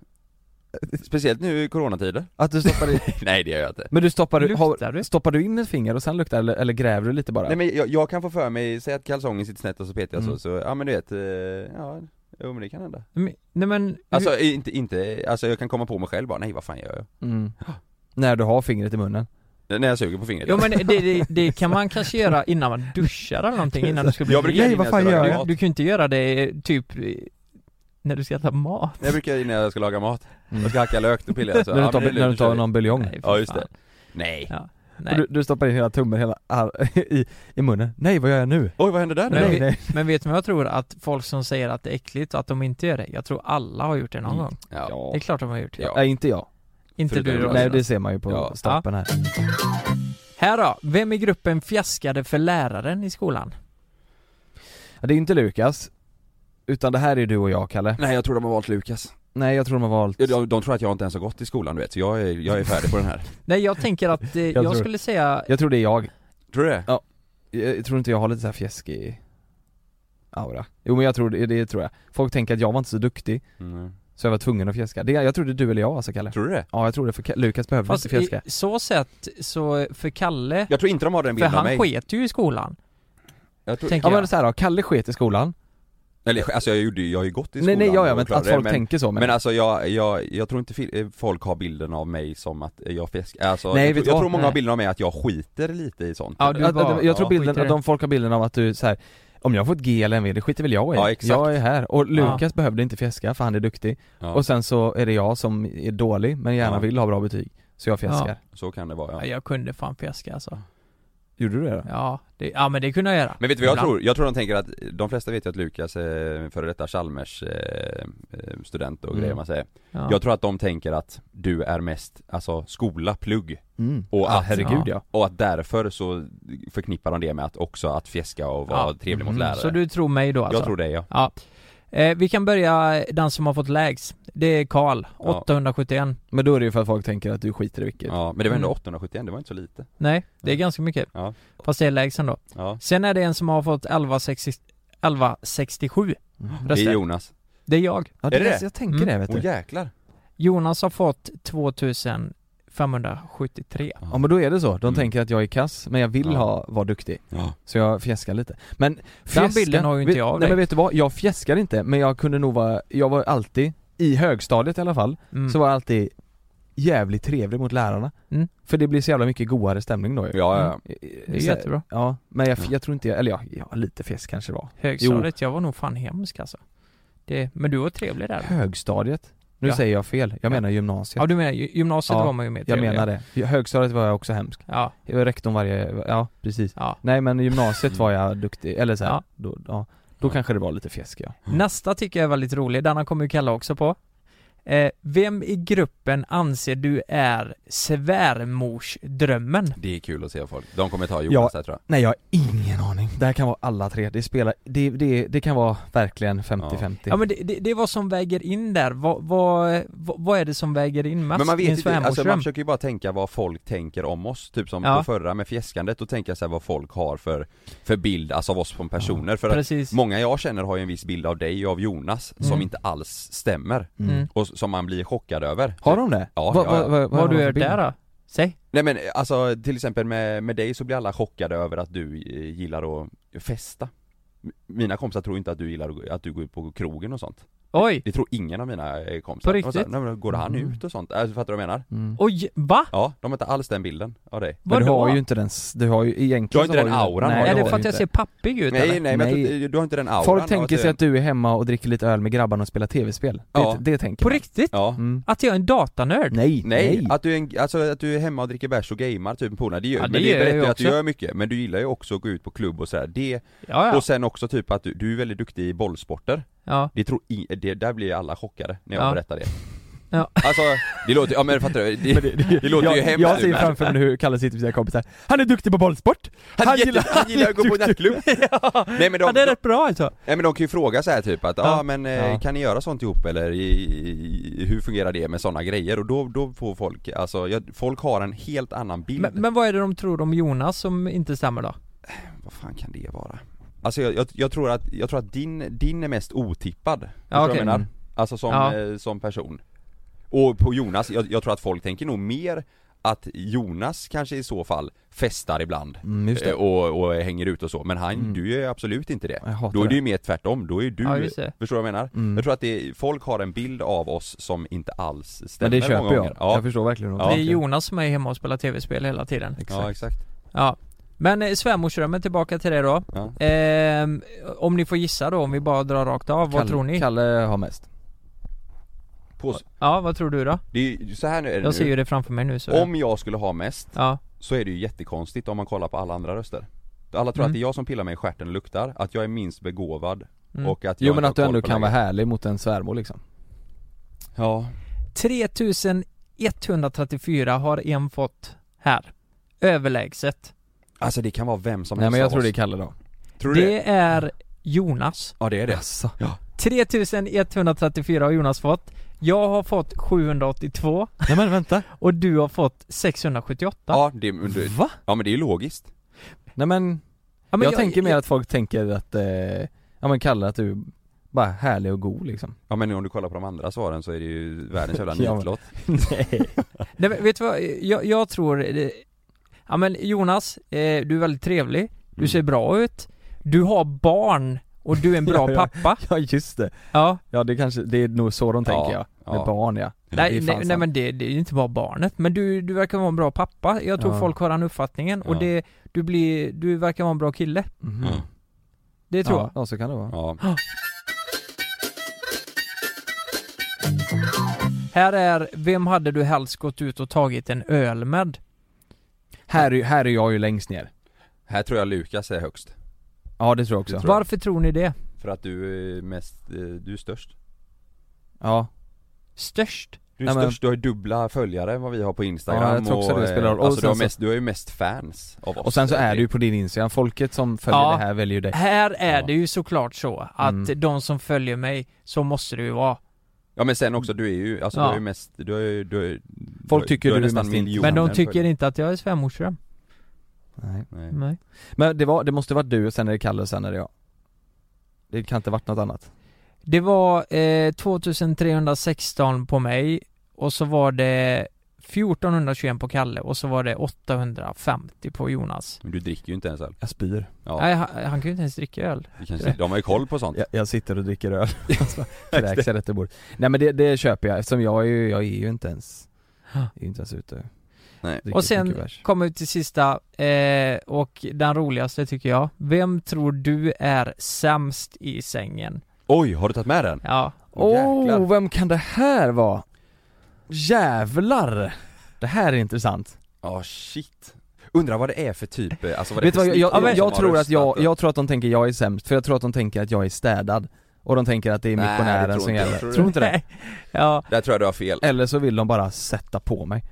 Speaker 3: Speciellt nu i coronatider
Speaker 1: Att du stoppar i,
Speaker 3: Nej det gör jag inte
Speaker 1: men du stoppar, du-
Speaker 2: Luktar du?
Speaker 1: har, stoppar du in ett finger och sen luktar eller, eller gräver du lite bara?
Speaker 3: Nej men jag, jag kan få för mig, säg att kalsongen sitter snett och så petar jag
Speaker 1: Mm.
Speaker 3: så, så, ja men du vet, eh, ja, jo men det kan hända
Speaker 2: men, Mm, nej men,
Speaker 3: Alltså inte, inte, alltså jag kan komma på mig själv bara, nej vad fan gör jag?
Speaker 1: mm. När du har fingret i munnen?
Speaker 3: N- När jag suger på fingret
Speaker 2: jo men det, det, det kan man kanske göra innan man duschar eller någonting, innan du ska bli
Speaker 3: Jag brukar
Speaker 2: ren.
Speaker 1: Nej, vad fan
Speaker 3: innan jag ska
Speaker 1: gör
Speaker 3: laga
Speaker 1: jag?
Speaker 3: mat.
Speaker 2: Du kan ju inte göra det eh, typ eh, när du ska äta mat.
Speaker 3: Jag brukar innan jag ska laga mat,
Speaker 1: Mm.
Speaker 3: jag ska hacka lök, då pillar jag så,
Speaker 1: när
Speaker 3: alltså. ja,
Speaker 1: du tar,
Speaker 3: men det är lugnt,
Speaker 1: när du
Speaker 3: då kör
Speaker 1: tar
Speaker 3: vi.
Speaker 1: någon buljong?
Speaker 2: Nej, för
Speaker 3: Ja, just
Speaker 2: fan.
Speaker 3: Nej!
Speaker 2: Ja.
Speaker 1: Och
Speaker 2: Nej.
Speaker 1: Du, du stoppar in hela tummen, hela ar- i, i munnen. Nej vad gör jag nu?
Speaker 3: Oj vad hände där nu?
Speaker 2: Nej,
Speaker 1: Nej,
Speaker 2: vi-
Speaker 1: nej.
Speaker 2: Men vet ni vad jag tror? Att folk som säger att det är äckligt och att de inte gör det, jag tror alla har gjort det någon
Speaker 1: Mm.
Speaker 2: gång.
Speaker 3: Ja.
Speaker 2: Det är klart de har gjort det.
Speaker 3: Ja.
Speaker 1: Nej inte jag.
Speaker 2: Inte
Speaker 3: Förutom
Speaker 2: du då.
Speaker 3: jag.
Speaker 1: Nej det ser man ju på
Speaker 3: Ja.
Speaker 1: stapeln här.
Speaker 2: Här då, vem i gruppen fjäskade för läraren i skolan?
Speaker 1: Ja, det är inte Lukas. Utan det här är du och jag Kalle.
Speaker 3: Nej jag tror de har valt Lukas
Speaker 1: Nej jag tror de har valt...
Speaker 3: Ja, de, de tror att jag inte ens har gått i skolan du vet, så jag är, jag är färdig på den här
Speaker 2: Nej jag tänker att, eh, jag,
Speaker 1: tror-
Speaker 2: skulle säga,
Speaker 1: Jag tror det är jag.
Speaker 3: Tror du det?
Speaker 1: Jag jag tror inte jag har lite så här fjäskig aura. Jo men jag tror det, det tror jag. Folk tänker att jag var inte så duktig,
Speaker 3: Mm.
Speaker 1: så jag var tvungen att fjäska. Det, jag tror det är du eller jag alltså Kalle.
Speaker 3: Tror du det?
Speaker 1: Ja jag tror det, för Ka- Lukas behöver
Speaker 2: fast
Speaker 1: inte fjäska.
Speaker 2: i så sätt, så för Kalle,
Speaker 3: Jag tror inte de har den
Speaker 2: för
Speaker 3: bilden av
Speaker 2: han
Speaker 3: mig
Speaker 2: sket ju i skolan,
Speaker 3: jag tror,
Speaker 2: tänker
Speaker 1: Ja men
Speaker 2: jag.
Speaker 1: så här då, Kalle sket i skolan.
Speaker 3: Eller alltså jag, gjorde, ju- jag har ju gått i
Speaker 1: nej
Speaker 3: skolan
Speaker 1: nej ja, ja
Speaker 3: och
Speaker 1: men
Speaker 3: klarade
Speaker 1: att folk
Speaker 3: det, men,
Speaker 1: tänker så men...
Speaker 3: Men alltså jag, jag, jag tror inte fil- eh, folk har bilden av mig som att jag fjäskar, alltså,
Speaker 1: Nej,
Speaker 3: jag, tror-
Speaker 1: vet du
Speaker 3: jag
Speaker 1: vad?
Speaker 3: tror många
Speaker 2: Nej.
Speaker 3: har bilden av mig att jag skiter lite i sånt typ.
Speaker 2: Ja, du
Speaker 1: att,
Speaker 2: bara-
Speaker 1: att, jag tror
Speaker 3: ja,
Speaker 1: bilden,
Speaker 2: skiter i
Speaker 1: att de folk har bilden av att du så här, om jag får ett G eller en V, det skiter väl jag i.
Speaker 3: Ja, exakt.
Speaker 1: Jag är här. Och
Speaker 2: Ja.
Speaker 1: Lukas behövde inte fjäska för han är duktig.
Speaker 3: Ja,
Speaker 1: Och sen så är det jag som är dålig men gärna
Speaker 3: Ja.
Speaker 1: vill ha bra betyg. Så jag fjäskar.
Speaker 2: Ja.
Speaker 3: Så kan det vara
Speaker 2: Ja,
Speaker 3: ja.
Speaker 2: jag kunde fan fjäska alltså.
Speaker 1: Gjorde du det då?
Speaker 2: Ja, det, ja men det kunde jag göra.
Speaker 3: Men vet du vad jag
Speaker 2: Ibland.
Speaker 3: tror? Jag tror de tänker att, de flesta vet ju att Lukas, eh, före detta Chalmers eh, eh, student och
Speaker 1: Mm.
Speaker 3: grejer man säger
Speaker 2: Ja.
Speaker 3: Jag tror att de tänker att du är mest, alltså skola, plugg
Speaker 1: Mm.
Speaker 3: Och
Speaker 1: ja,
Speaker 3: att-
Speaker 1: herregud ja.
Speaker 3: Och att därför så förknippar de det med att också att fjäska och vara
Speaker 2: Ja. Mm,
Speaker 3: trevlig mot
Speaker 1: Mhm.
Speaker 3: lärare
Speaker 2: Så du tror mig då alltså?
Speaker 3: Jag tror det ja
Speaker 2: Ja. Eh, vi kan börja den som har fått lägst. Det är Karl,
Speaker 3: Ja.
Speaker 2: 871.
Speaker 1: Men då är det ju för att folk tänker att du skiter i vilket
Speaker 3: Ja, men det var ändå
Speaker 2: Mm.
Speaker 3: 871, det var inte så lite
Speaker 2: Nej, det är ganska mycket.
Speaker 3: Ja.
Speaker 2: Fast det är lägst ändå.
Speaker 3: Ja,
Speaker 2: Sen är det en som har fått 1160 1167
Speaker 1: mm.
Speaker 3: det är
Speaker 2: röster.
Speaker 3: Jonas
Speaker 2: Det är jag.
Speaker 1: ja,
Speaker 3: Är det Oh, det?
Speaker 1: Jag tänker
Speaker 2: Mm.
Speaker 1: det vet du
Speaker 3: Åh jäklar!
Speaker 2: Jonas har fått 2573.
Speaker 1: Ja men då är det så, de
Speaker 3: Mm.
Speaker 1: tänker att jag är kass, men jag vill
Speaker 3: Ja.
Speaker 1: ha, vara duktig
Speaker 3: Ja,
Speaker 1: Så jag fjäskar lite Men fjäska,
Speaker 2: bilden har ju inte
Speaker 1: vet-
Speaker 2: jag av
Speaker 1: Nej
Speaker 2: dig.
Speaker 1: men vet du vad, jag fjäskar inte men jag kunde nog vara, jag var alltid, i högstadiet i alla fall,
Speaker 2: Mm.
Speaker 1: så var jag alltid jävligt trevlig mot lärarna
Speaker 2: Mm.
Speaker 1: För det blir så jävla mycket godare stämning då ju Eh,
Speaker 3: ja, ja.
Speaker 2: Mm. Det är jättebra.
Speaker 1: Ja, men jag,
Speaker 3: Ja.
Speaker 1: jag tror inte jag, eller ja, ja lite fjäsk kanske det var
Speaker 2: Högstadiet, jag var nog fan hemsk alltså. Det, men du var trevlig där.
Speaker 1: Högstadiet? Nu
Speaker 2: Ja.
Speaker 1: säger jag fel, jag menar gymnasiet
Speaker 2: Ja du menar, gy- gymnasiet
Speaker 1: Ja,
Speaker 2: var man ju mer
Speaker 1: Jag
Speaker 2: trevlig.
Speaker 1: menar det, högstadiet var jag också hemsk
Speaker 2: Ja,
Speaker 1: Jag var Rektorn varje, ja precis
Speaker 2: ja.
Speaker 1: Nej men i gymnasiet var jag duktig, eller så här,
Speaker 2: Ja.
Speaker 1: då, ja, då kanske det var lite fjäsk ja.
Speaker 3: Mm.
Speaker 2: Nästa tycker jag är väldigt rolig, denna kommer ju Kalle också på. Eh, vem i gruppen anser du är svärmorsdrömmen?
Speaker 3: Det är kul att se folk, de kommer ta Jonas
Speaker 1: Ja.
Speaker 3: här tror jag
Speaker 1: Nej jag har ingen aning, det här kan vara alla tre, det spelar, det, det, det kan vara verkligen 50-50
Speaker 2: Ja men det, det, det är vad som väger in där, vad, vad, vad, vad är det som väger in mest?
Speaker 3: Men man vet
Speaker 2: Min
Speaker 3: inte, alltså man
Speaker 2: svärmorsdröm?
Speaker 3: försöker ju bara tänka vad folk tänker om oss, typ som
Speaker 2: Ja.
Speaker 3: på förra med fjäskandet, och tänka sig vad folk har för, för bild, alltså av oss som personer, för att
Speaker 2: Precis.
Speaker 3: många jag känner har ju en viss bild av dig och av Jonas
Speaker 2: Mm.
Speaker 3: som inte alls stämmer,
Speaker 1: Mm.
Speaker 2: Mm.
Speaker 3: och s- som man blir chockad över
Speaker 1: Har de det?
Speaker 3: Ja, ja, ja.
Speaker 2: Vad har
Speaker 1: har de
Speaker 2: du
Speaker 1: för
Speaker 2: gör
Speaker 1: bild?
Speaker 2: där då? Säg.
Speaker 3: Nej men alltså till exempel med, med dig så blir alla chockade över att du eh, gillar att festa M- Mina kompisar tror inte att du gillar att, gå- att du går ut på krogen och sånt
Speaker 2: Oj!
Speaker 3: Det tror ingen av mina eh, kompisar
Speaker 2: På
Speaker 3: De säger,
Speaker 2: riktigt?
Speaker 3: Nej, men går han
Speaker 1: Mm.
Speaker 3: ut och sånt? Alltså, fattar du vad jag menar?
Speaker 1: Mm.
Speaker 2: Oj, va?
Speaker 3: Ja, de har inte alls den bilden av dig
Speaker 1: Men du
Speaker 2: Vadå?
Speaker 1: har ju inte den, s- du har ju egentligen
Speaker 3: Du har inte
Speaker 1: så
Speaker 3: den
Speaker 1: ju-
Speaker 3: auran, har
Speaker 1: nej,
Speaker 3: du?
Speaker 2: är
Speaker 1: det
Speaker 2: det
Speaker 1: har
Speaker 2: för
Speaker 1: du
Speaker 2: att jag
Speaker 1: inte.
Speaker 2: ser pappig ut
Speaker 3: Nej
Speaker 2: eller?
Speaker 3: nej men jag
Speaker 1: Nej.
Speaker 3: tror inte- du har inte den auran
Speaker 1: Folk
Speaker 3: av
Speaker 1: tänker sig att du är hemma och dricker lite öl med grabbarna och spelar tv-spel
Speaker 3: Ja.
Speaker 1: det, det tänker
Speaker 2: På
Speaker 1: man.
Speaker 2: riktigt?
Speaker 3: Ja
Speaker 1: Mm.
Speaker 2: Att jag är en
Speaker 3: Mm.
Speaker 2: datanörd?
Speaker 1: Nej,
Speaker 3: Nej,
Speaker 1: nej!
Speaker 3: Att, du är en, alltså, att du är hemma och dricker bärs och gamer typ med polarna, det gör
Speaker 2: Ja, det
Speaker 3: men
Speaker 2: gör
Speaker 3: det
Speaker 2: jag
Speaker 3: berättar
Speaker 2: ju
Speaker 3: ju att du
Speaker 2: också.
Speaker 3: gör mycket, men du gillar ju också att gå ut på klubb och sådär, det,
Speaker 2: Ja, ja.
Speaker 3: och sen också typ att du, du är väldigt duktig i bollsporter
Speaker 2: ja.
Speaker 3: Det tror i, det, där blir alla chockade när jag
Speaker 2: Ja.
Speaker 3: berättar det
Speaker 2: Ja.
Speaker 3: Alltså, det låter, ja men fattar du? Det, det, låter
Speaker 1: jag,
Speaker 3: ju hemskt
Speaker 1: Jag ser
Speaker 3: men-
Speaker 1: framför mig hur Kalle sitter med sina kompisar, han är duktig på bollsport!
Speaker 3: Han,
Speaker 1: han
Speaker 3: jätte-
Speaker 1: gillar-
Speaker 3: han gillar att gå på nattklubb! Nej men de,
Speaker 2: ja, det är
Speaker 3: de,
Speaker 2: rätt bra alltså.
Speaker 3: nej, men de kan ju fråga så här typ att, ja
Speaker 2: Ja.
Speaker 3: ah, men eh,
Speaker 1: Ja.
Speaker 3: kan ni göra sånt ihop eller i, i, hur fungerar det med sådana grejer? Och då, då får folk, alltså, jag, folk har en helt annan bild
Speaker 2: Men, men vad är det de tror om Jonas som inte stämmer då?
Speaker 3: Vad fan kan det vara? Alltså jag, jag, jag tror att, jag tror att din, din är mest otippad, Förstår du vad
Speaker 2: okej. Mm.
Speaker 3: jag menar? Alltså som,
Speaker 2: Ja.
Speaker 3: eh, som person Och på Jonas, jag, jag tror att folk tänker nog mer att Jonas kanske i så fall festar ibland
Speaker 1: Mm, just
Speaker 3: eh,
Speaker 1: det.
Speaker 3: och, och hänger ut och så, men han,
Speaker 1: Mm.
Speaker 3: du är absolut inte det
Speaker 1: Jag hatar
Speaker 3: Då är det
Speaker 1: det.
Speaker 3: ju mer tvärtom, då är du,
Speaker 2: Ja, just det.
Speaker 3: förstår du vad jag menar?
Speaker 1: Mm.
Speaker 3: Jag tror att det, folk har en bild av oss som inte alls stämmer
Speaker 1: Men det
Speaker 3: många
Speaker 1: köper jag,
Speaker 3: gånger. Ja,
Speaker 1: jag förstår verkligen
Speaker 3: Ja.
Speaker 2: Det är Jonas som är hemma och spelar tv-spel hela tiden.
Speaker 3: ja exakt
Speaker 2: Ja. Men eh, svärmorsdrömmen, tillbaka till det då.
Speaker 3: ja.
Speaker 2: Ehm, om ni får gissa då, om vi bara drar rakt av, vad
Speaker 1: Kalle,
Speaker 2: tror ni?
Speaker 1: Kalle har mest
Speaker 3: På,
Speaker 2: Ja, vad tror du då?
Speaker 3: det är ju, så här nu är det
Speaker 2: Jag ser
Speaker 3: nu.
Speaker 2: ju det framför mig nu så...
Speaker 3: Om jag skulle ha mest
Speaker 2: Ja,
Speaker 3: så är det ju jättekonstigt om man kollar på alla andra röster Alla tror
Speaker 2: Mm.
Speaker 3: att det är jag som pillar mig i stjärten och luktar, att jag är minst begåvad
Speaker 2: Mm.
Speaker 3: och att jag
Speaker 1: Jo men
Speaker 3: inte
Speaker 1: att du
Speaker 3: har koll
Speaker 1: ändå
Speaker 3: på
Speaker 1: kan vara
Speaker 3: läget.
Speaker 1: härlig mot en svärmor liksom
Speaker 3: Ja,
Speaker 2: 3134 har en fått här. Överlägset.
Speaker 3: alltså det kan vara vem som
Speaker 1: Nej
Speaker 3: helst
Speaker 1: men jag
Speaker 3: av
Speaker 1: tror
Speaker 3: oss.
Speaker 1: det är Kalle då
Speaker 3: Tror du det?
Speaker 2: Det är Jonas.
Speaker 3: Ja det är det
Speaker 1: Jaså?
Speaker 2: 3134 har Jonas fått. Jag har fått 782
Speaker 1: Nej men vänta
Speaker 2: och du har fått 678.
Speaker 3: Ja, det, men du-
Speaker 1: Va?
Speaker 3: ja men det är ju logiskt
Speaker 1: Nej men,
Speaker 2: Ja, men
Speaker 1: jag, tänker mer att folk tänker att, eh, ja men Kalle att du bara är härlig och god liksom
Speaker 3: Ja men om du kollar på de andra svaren så är det ju världens jävla
Speaker 1: Ja, men-
Speaker 3: nitlott
Speaker 1: Nej
Speaker 2: Nej, men vet du vad, jag, jag tror... eh, Ja men Jonas, eh, du är väldigt trevlig, du
Speaker 3: Mm.
Speaker 2: ser bra ut, du har barn och du är en bra
Speaker 1: Ja, ja.
Speaker 2: pappa.
Speaker 1: Ja just det,
Speaker 2: Ja.
Speaker 1: ja det kanske, det är nog så de tänker ja,
Speaker 3: Ja,
Speaker 1: med
Speaker 3: Mm. ja.
Speaker 1: barn ja Det
Speaker 2: Nej,
Speaker 1: är fan
Speaker 2: nej, nej
Speaker 1: sant.
Speaker 2: men det, det är ju inte bara barnet, men du, du verkar vara en bra pappa. Jag tror
Speaker 1: Ja.
Speaker 2: folk har den uppfattningen och
Speaker 3: Ja.
Speaker 2: det, du blir, du verkar vara en bra kille.
Speaker 1: Mhm.
Speaker 3: Ja.
Speaker 2: Det tror
Speaker 1: ja, ja så kan det vara
Speaker 3: Mm. Ja,
Speaker 2: jag. Här är, vem hade du helst gått ut och tagit en öl med?
Speaker 1: Här, är, här är jag ju längst ner
Speaker 3: här tror jag Lukas är högst
Speaker 1: Ja det tror jag också
Speaker 3: tror jag.
Speaker 2: Varför tror ni det?
Speaker 3: För att du är mest, eh, du är störst
Speaker 1: Ja,
Speaker 2: Störst?
Speaker 3: Du är
Speaker 1: Nej, men-
Speaker 3: störst, du har ju dubbla följare än vad vi har på Instagram
Speaker 1: Ja, jag tror också
Speaker 3: och,
Speaker 1: det
Speaker 3: eh,
Speaker 1: spelar roll. Och
Speaker 3: Alltså du,
Speaker 1: sen
Speaker 3: har
Speaker 1: så-
Speaker 3: mest, du har ju mest fans av oss
Speaker 1: Och sen så är du ju på din Instagram, folket som följer
Speaker 2: Ja.
Speaker 1: det här väljer ju dig
Speaker 2: Här är
Speaker 3: Ja.
Speaker 2: det ju såklart så att
Speaker 1: Eh, Mm.
Speaker 2: de som följer mig, så måste det ju vara.
Speaker 3: Ja men sen också, du är ju, alltså
Speaker 2: Ja.
Speaker 3: du har ju mest, du har ju, du har, ju-
Speaker 1: Folk
Speaker 3: har-
Speaker 1: tycker
Speaker 3: har
Speaker 1: du är
Speaker 3: nästan
Speaker 1: mest int-
Speaker 3: miljoner
Speaker 2: Men de tycker
Speaker 3: följare.
Speaker 2: inte att jag är svärmorsa.
Speaker 1: Nej.
Speaker 3: Nej.
Speaker 2: Nej.
Speaker 1: Men det, var, det måste varit du och sen är det Kalle och sen är det jag Det kan inte varit något annat
Speaker 2: Det var eh, 2316 på mig och så var det 1421 på Kalle och så var det 850 på Jonas.
Speaker 3: Men du dricker ju inte ens öl
Speaker 1: Jag spyr
Speaker 3: Ja,
Speaker 2: Nej, han, han kan ju inte ens dricka öl.
Speaker 3: det kanske, de har ju koll på sånt
Speaker 1: Jag, jag sitter och dricker öl Kräks jag rätt i bordet Nej men det, det köper jag eftersom jag är ju, jag är ju inte ens Jag är ju inte ens ute
Speaker 3: Nej.
Speaker 1: Dricker
Speaker 2: Och
Speaker 1: så mycket
Speaker 2: sen
Speaker 1: bärs.
Speaker 2: kommer vi till sista eh, och den roligaste tycker jag. Vem tror du är sämst i sängen?
Speaker 3: Oj, har du tagit med den?
Speaker 2: Ja.
Speaker 1: Åh,
Speaker 3: Jäklar.
Speaker 1: oh, vem kan det här vara? Jävlar! Det här är intressant
Speaker 3: Ja shit Undrar vad det är för typ, eh, alltså vad det
Speaker 1: Vet du
Speaker 3: är
Speaker 1: vad,
Speaker 3: för
Speaker 1: jag,
Speaker 3: snitt
Speaker 1: jag,
Speaker 3: de
Speaker 1: jag,
Speaker 3: som har
Speaker 1: tror att
Speaker 3: röstat
Speaker 1: jag,
Speaker 3: då?
Speaker 1: jag tror att de tänker jag är sämst, för jag tror att de tänker att jag är städad Och de tänker att det är
Speaker 3: Nej,
Speaker 1: missionären
Speaker 3: det tror
Speaker 1: som
Speaker 3: inte jag.
Speaker 1: gäller,
Speaker 3: Tror
Speaker 1: tror,
Speaker 3: du
Speaker 1: du inte det?
Speaker 2: ja.
Speaker 3: Där tror jag du har fel
Speaker 1: Eller så vill de bara sätta på mig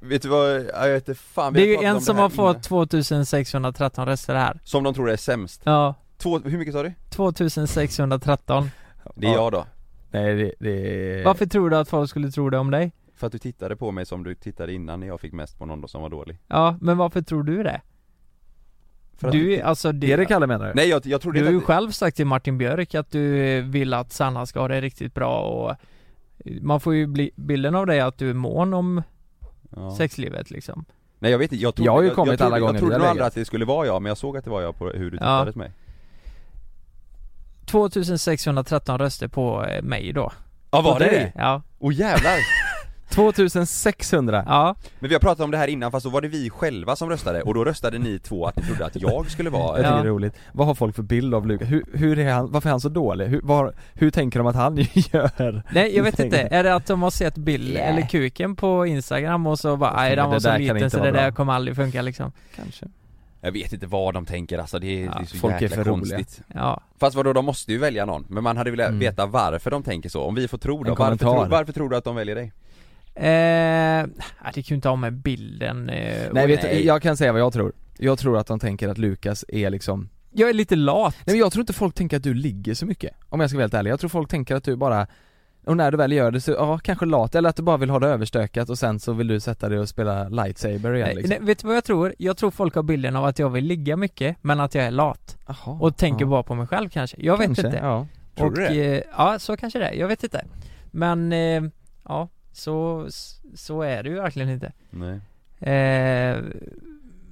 Speaker 3: Vet du vad, ja, jag vet inte fan vi
Speaker 2: Det är ju
Speaker 3: pratat om
Speaker 2: en som
Speaker 3: här
Speaker 2: har fått
Speaker 3: innan.
Speaker 2: 2613 röster här.
Speaker 3: Som de tror är sämst
Speaker 2: Ja.
Speaker 3: Två, hur mycket sa du?
Speaker 2: 2613.
Speaker 3: Det är
Speaker 1: Ja.
Speaker 3: jag då
Speaker 1: Nej det, det
Speaker 2: Varför tror du att folk skulle tro det om dig?
Speaker 3: För att du tittade på mig som du tittade innan när jag fick mest på någon då som var dålig
Speaker 2: Ja, men varför tror du det?
Speaker 3: För att-
Speaker 2: du, är- alltså det,
Speaker 1: Är det Kalle menar du?
Speaker 3: Nej jag, jag trodde
Speaker 2: du har ju
Speaker 3: inte att,
Speaker 2: själv sagt till Martin Björk att du vill att Sanna ska ha det riktigt bra och eh, man får ju bli, bilden av dig att du är mån om
Speaker 3: ja.
Speaker 2: sexlivet liksom.
Speaker 3: Nej jag vet inte, jag trodde,
Speaker 1: Jag har ju
Speaker 3: jag,
Speaker 1: kommit
Speaker 3: jag trodde,
Speaker 1: alla gånger
Speaker 3: Jag
Speaker 1: vi
Speaker 3: trodde
Speaker 1: har
Speaker 3: nog
Speaker 1: legat.
Speaker 3: aldrig att det skulle vara jag men jag såg att det var jag på hur du
Speaker 2: Ja.
Speaker 3: tittade på mig
Speaker 2: 2613 röster på eh, mig då.
Speaker 3: Ja
Speaker 1: var det det?
Speaker 2: Ja.
Speaker 3: Åh jävlar!
Speaker 1: 2600!
Speaker 2: Ja.
Speaker 3: Men vi har pratat om det här innan fast då var det vi själva som röstade och då röstade ni två att ni trodde att jag skulle vara
Speaker 1: Jag tycker
Speaker 2: Ja.
Speaker 1: det är roligt. Vad har folk för bild av Lukas? Hur, hur är han, varför är han så dålig? Hur, var, hur tänker de att han gör?
Speaker 2: Nej jag vet inte,
Speaker 1: Tänker.
Speaker 2: är det att de har sett bild
Speaker 1: Yeah.
Speaker 2: eller kuken på instagram och så bara
Speaker 1: Jag
Speaker 2: nej
Speaker 1: tänker,
Speaker 2: den var
Speaker 1: det
Speaker 2: så
Speaker 1: där kan
Speaker 2: liten
Speaker 1: inte
Speaker 2: så det
Speaker 1: vara bra."
Speaker 2: där kommer aldrig funka liksom.
Speaker 1: Kanske
Speaker 3: Jag vet inte vad de tänker alltså, det är,
Speaker 2: Ja,
Speaker 3: det är så
Speaker 1: folk är
Speaker 3: jäkla
Speaker 1: för roliga.
Speaker 3: konstigt
Speaker 2: Ja.
Speaker 3: Fast vadå, de måste ju välja någon, men man hade velat
Speaker 1: Mm.
Speaker 3: veta varför de tänker så, om vi får tro
Speaker 1: En
Speaker 3: då, varför,
Speaker 1: kommentar.
Speaker 3: tror- varför tror du att de väljer dig?
Speaker 2: Eh, nej, det kan ju inte ha med bilden eh,
Speaker 1: Nej
Speaker 2: och-
Speaker 1: vet du,
Speaker 3: nej.
Speaker 1: jag kan säga vad jag tror. Jag tror att de tänker att Lukas är liksom
Speaker 2: Jag är lite lat.
Speaker 1: Nej men jag tror inte folk tänker att du ligger så mycket, om jag ska vara helt ärlig. Jag tror folk tänker att du bara och när du väl gör det så, ja kanske lat, eller att du bara vill ha det överstökat och sen så vill du sätta dig och spela lightsaber igen
Speaker 2: Nej,
Speaker 1: liksom.
Speaker 2: nej, vet du vad jag tror? Jag tror folk har bilden av att jag vill ligga mycket, men att jag är lat.
Speaker 1: Jaha,
Speaker 2: Och tänker
Speaker 1: ja.
Speaker 2: bara på mig själv kanske. Jag vet
Speaker 1: Kanske,
Speaker 2: inte.
Speaker 1: Ja.
Speaker 3: Tror
Speaker 2: och,
Speaker 3: du det?
Speaker 2: Eh, ja, så kanske det är. Jag vet inte. Men, eh, ja, så, så är det ju verkligen inte.
Speaker 3: Nej
Speaker 2: Eh,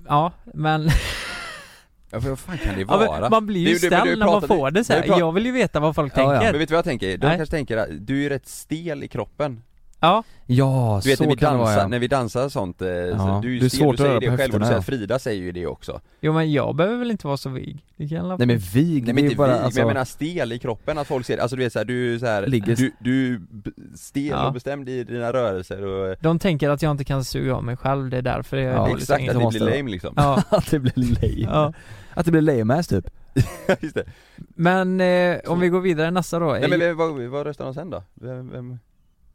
Speaker 2: ja, men,
Speaker 3: ja, för vad fan kan det
Speaker 2: ja,
Speaker 3: vara?
Speaker 2: men man blir
Speaker 3: Det är
Speaker 2: ju
Speaker 3: ju det- men
Speaker 2: ställd
Speaker 3: du
Speaker 2: när man
Speaker 3: pratade-
Speaker 2: får det så
Speaker 3: du
Speaker 2: här.
Speaker 3: pratade-
Speaker 2: Jag vill ju veta vad folk
Speaker 1: Ja, ja.
Speaker 3: Men
Speaker 2: tänker.
Speaker 3: vet du vad jag tänker? De
Speaker 2: Nej.
Speaker 3: kanske tänker att du är rätt stel i kroppen
Speaker 2: Ja,
Speaker 1: ja,
Speaker 3: Du vet
Speaker 1: så
Speaker 3: när vi,
Speaker 1: kan det vara
Speaker 3: dansar,
Speaker 1: ja.
Speaker 3: när vi dansar och sånt, eh,
Speaker 1: Ja,
Speaker 3: så du, är
Speaker 1: det är
Speaker 3: stel,
Speaker 1: svårt att
Speaker 3: du säger
Speaker 1: röra på
Speaker 3: det själv och du
Speaker 1: höfterna,
Speaker 3: säger
Speaker 1: ja.
Speaker 3: att Frida säger ju det också
Speaker 2: jo men jag behöver väl inte vara så vig? Det kan alla
Speaker 1: Nej men vig,
Speaker 3: Nej
Speaker 1: det
Speaker 3: men
Speaker 1: är
Speaker 3: inte
Speaker 1: ju bara
Speaker 3: vig,
Speaker 1: alltså,
Speaker 3: men jag menar stel i kroppen, att folk ser alltså du vet såhär, du är såhär,
Speaker 1: Ligger-
Speaker 3: du, du är b- stel
Speaker 2: Ja.
Speaker 3: och bestämd i dina rörelser och
Speaker 2: De tänker att jag inte kan suga av mig själv, det är därför jag är
Speaker 1: Ja,
Speaker 2: dålig
Speaker 3: exakt,
Speaker 2: säng.
Speaker 3: att det
Speaker 1: måste
Speaker 3: blir
Speaker 1: vara.
Speaker 3: lame liksom
Speaker 2: Ja,
Speaker 1: att det blir lame.
Speaker 2: ja.
Speaker 1: Att det blir lame ass typ.
Speaker 3: Just det.
Speaker 2: Men eh, om vi går vidare nästa då.
Speaker 3: Nej men vem- vad, vad röstar de sen då? Vem, vem?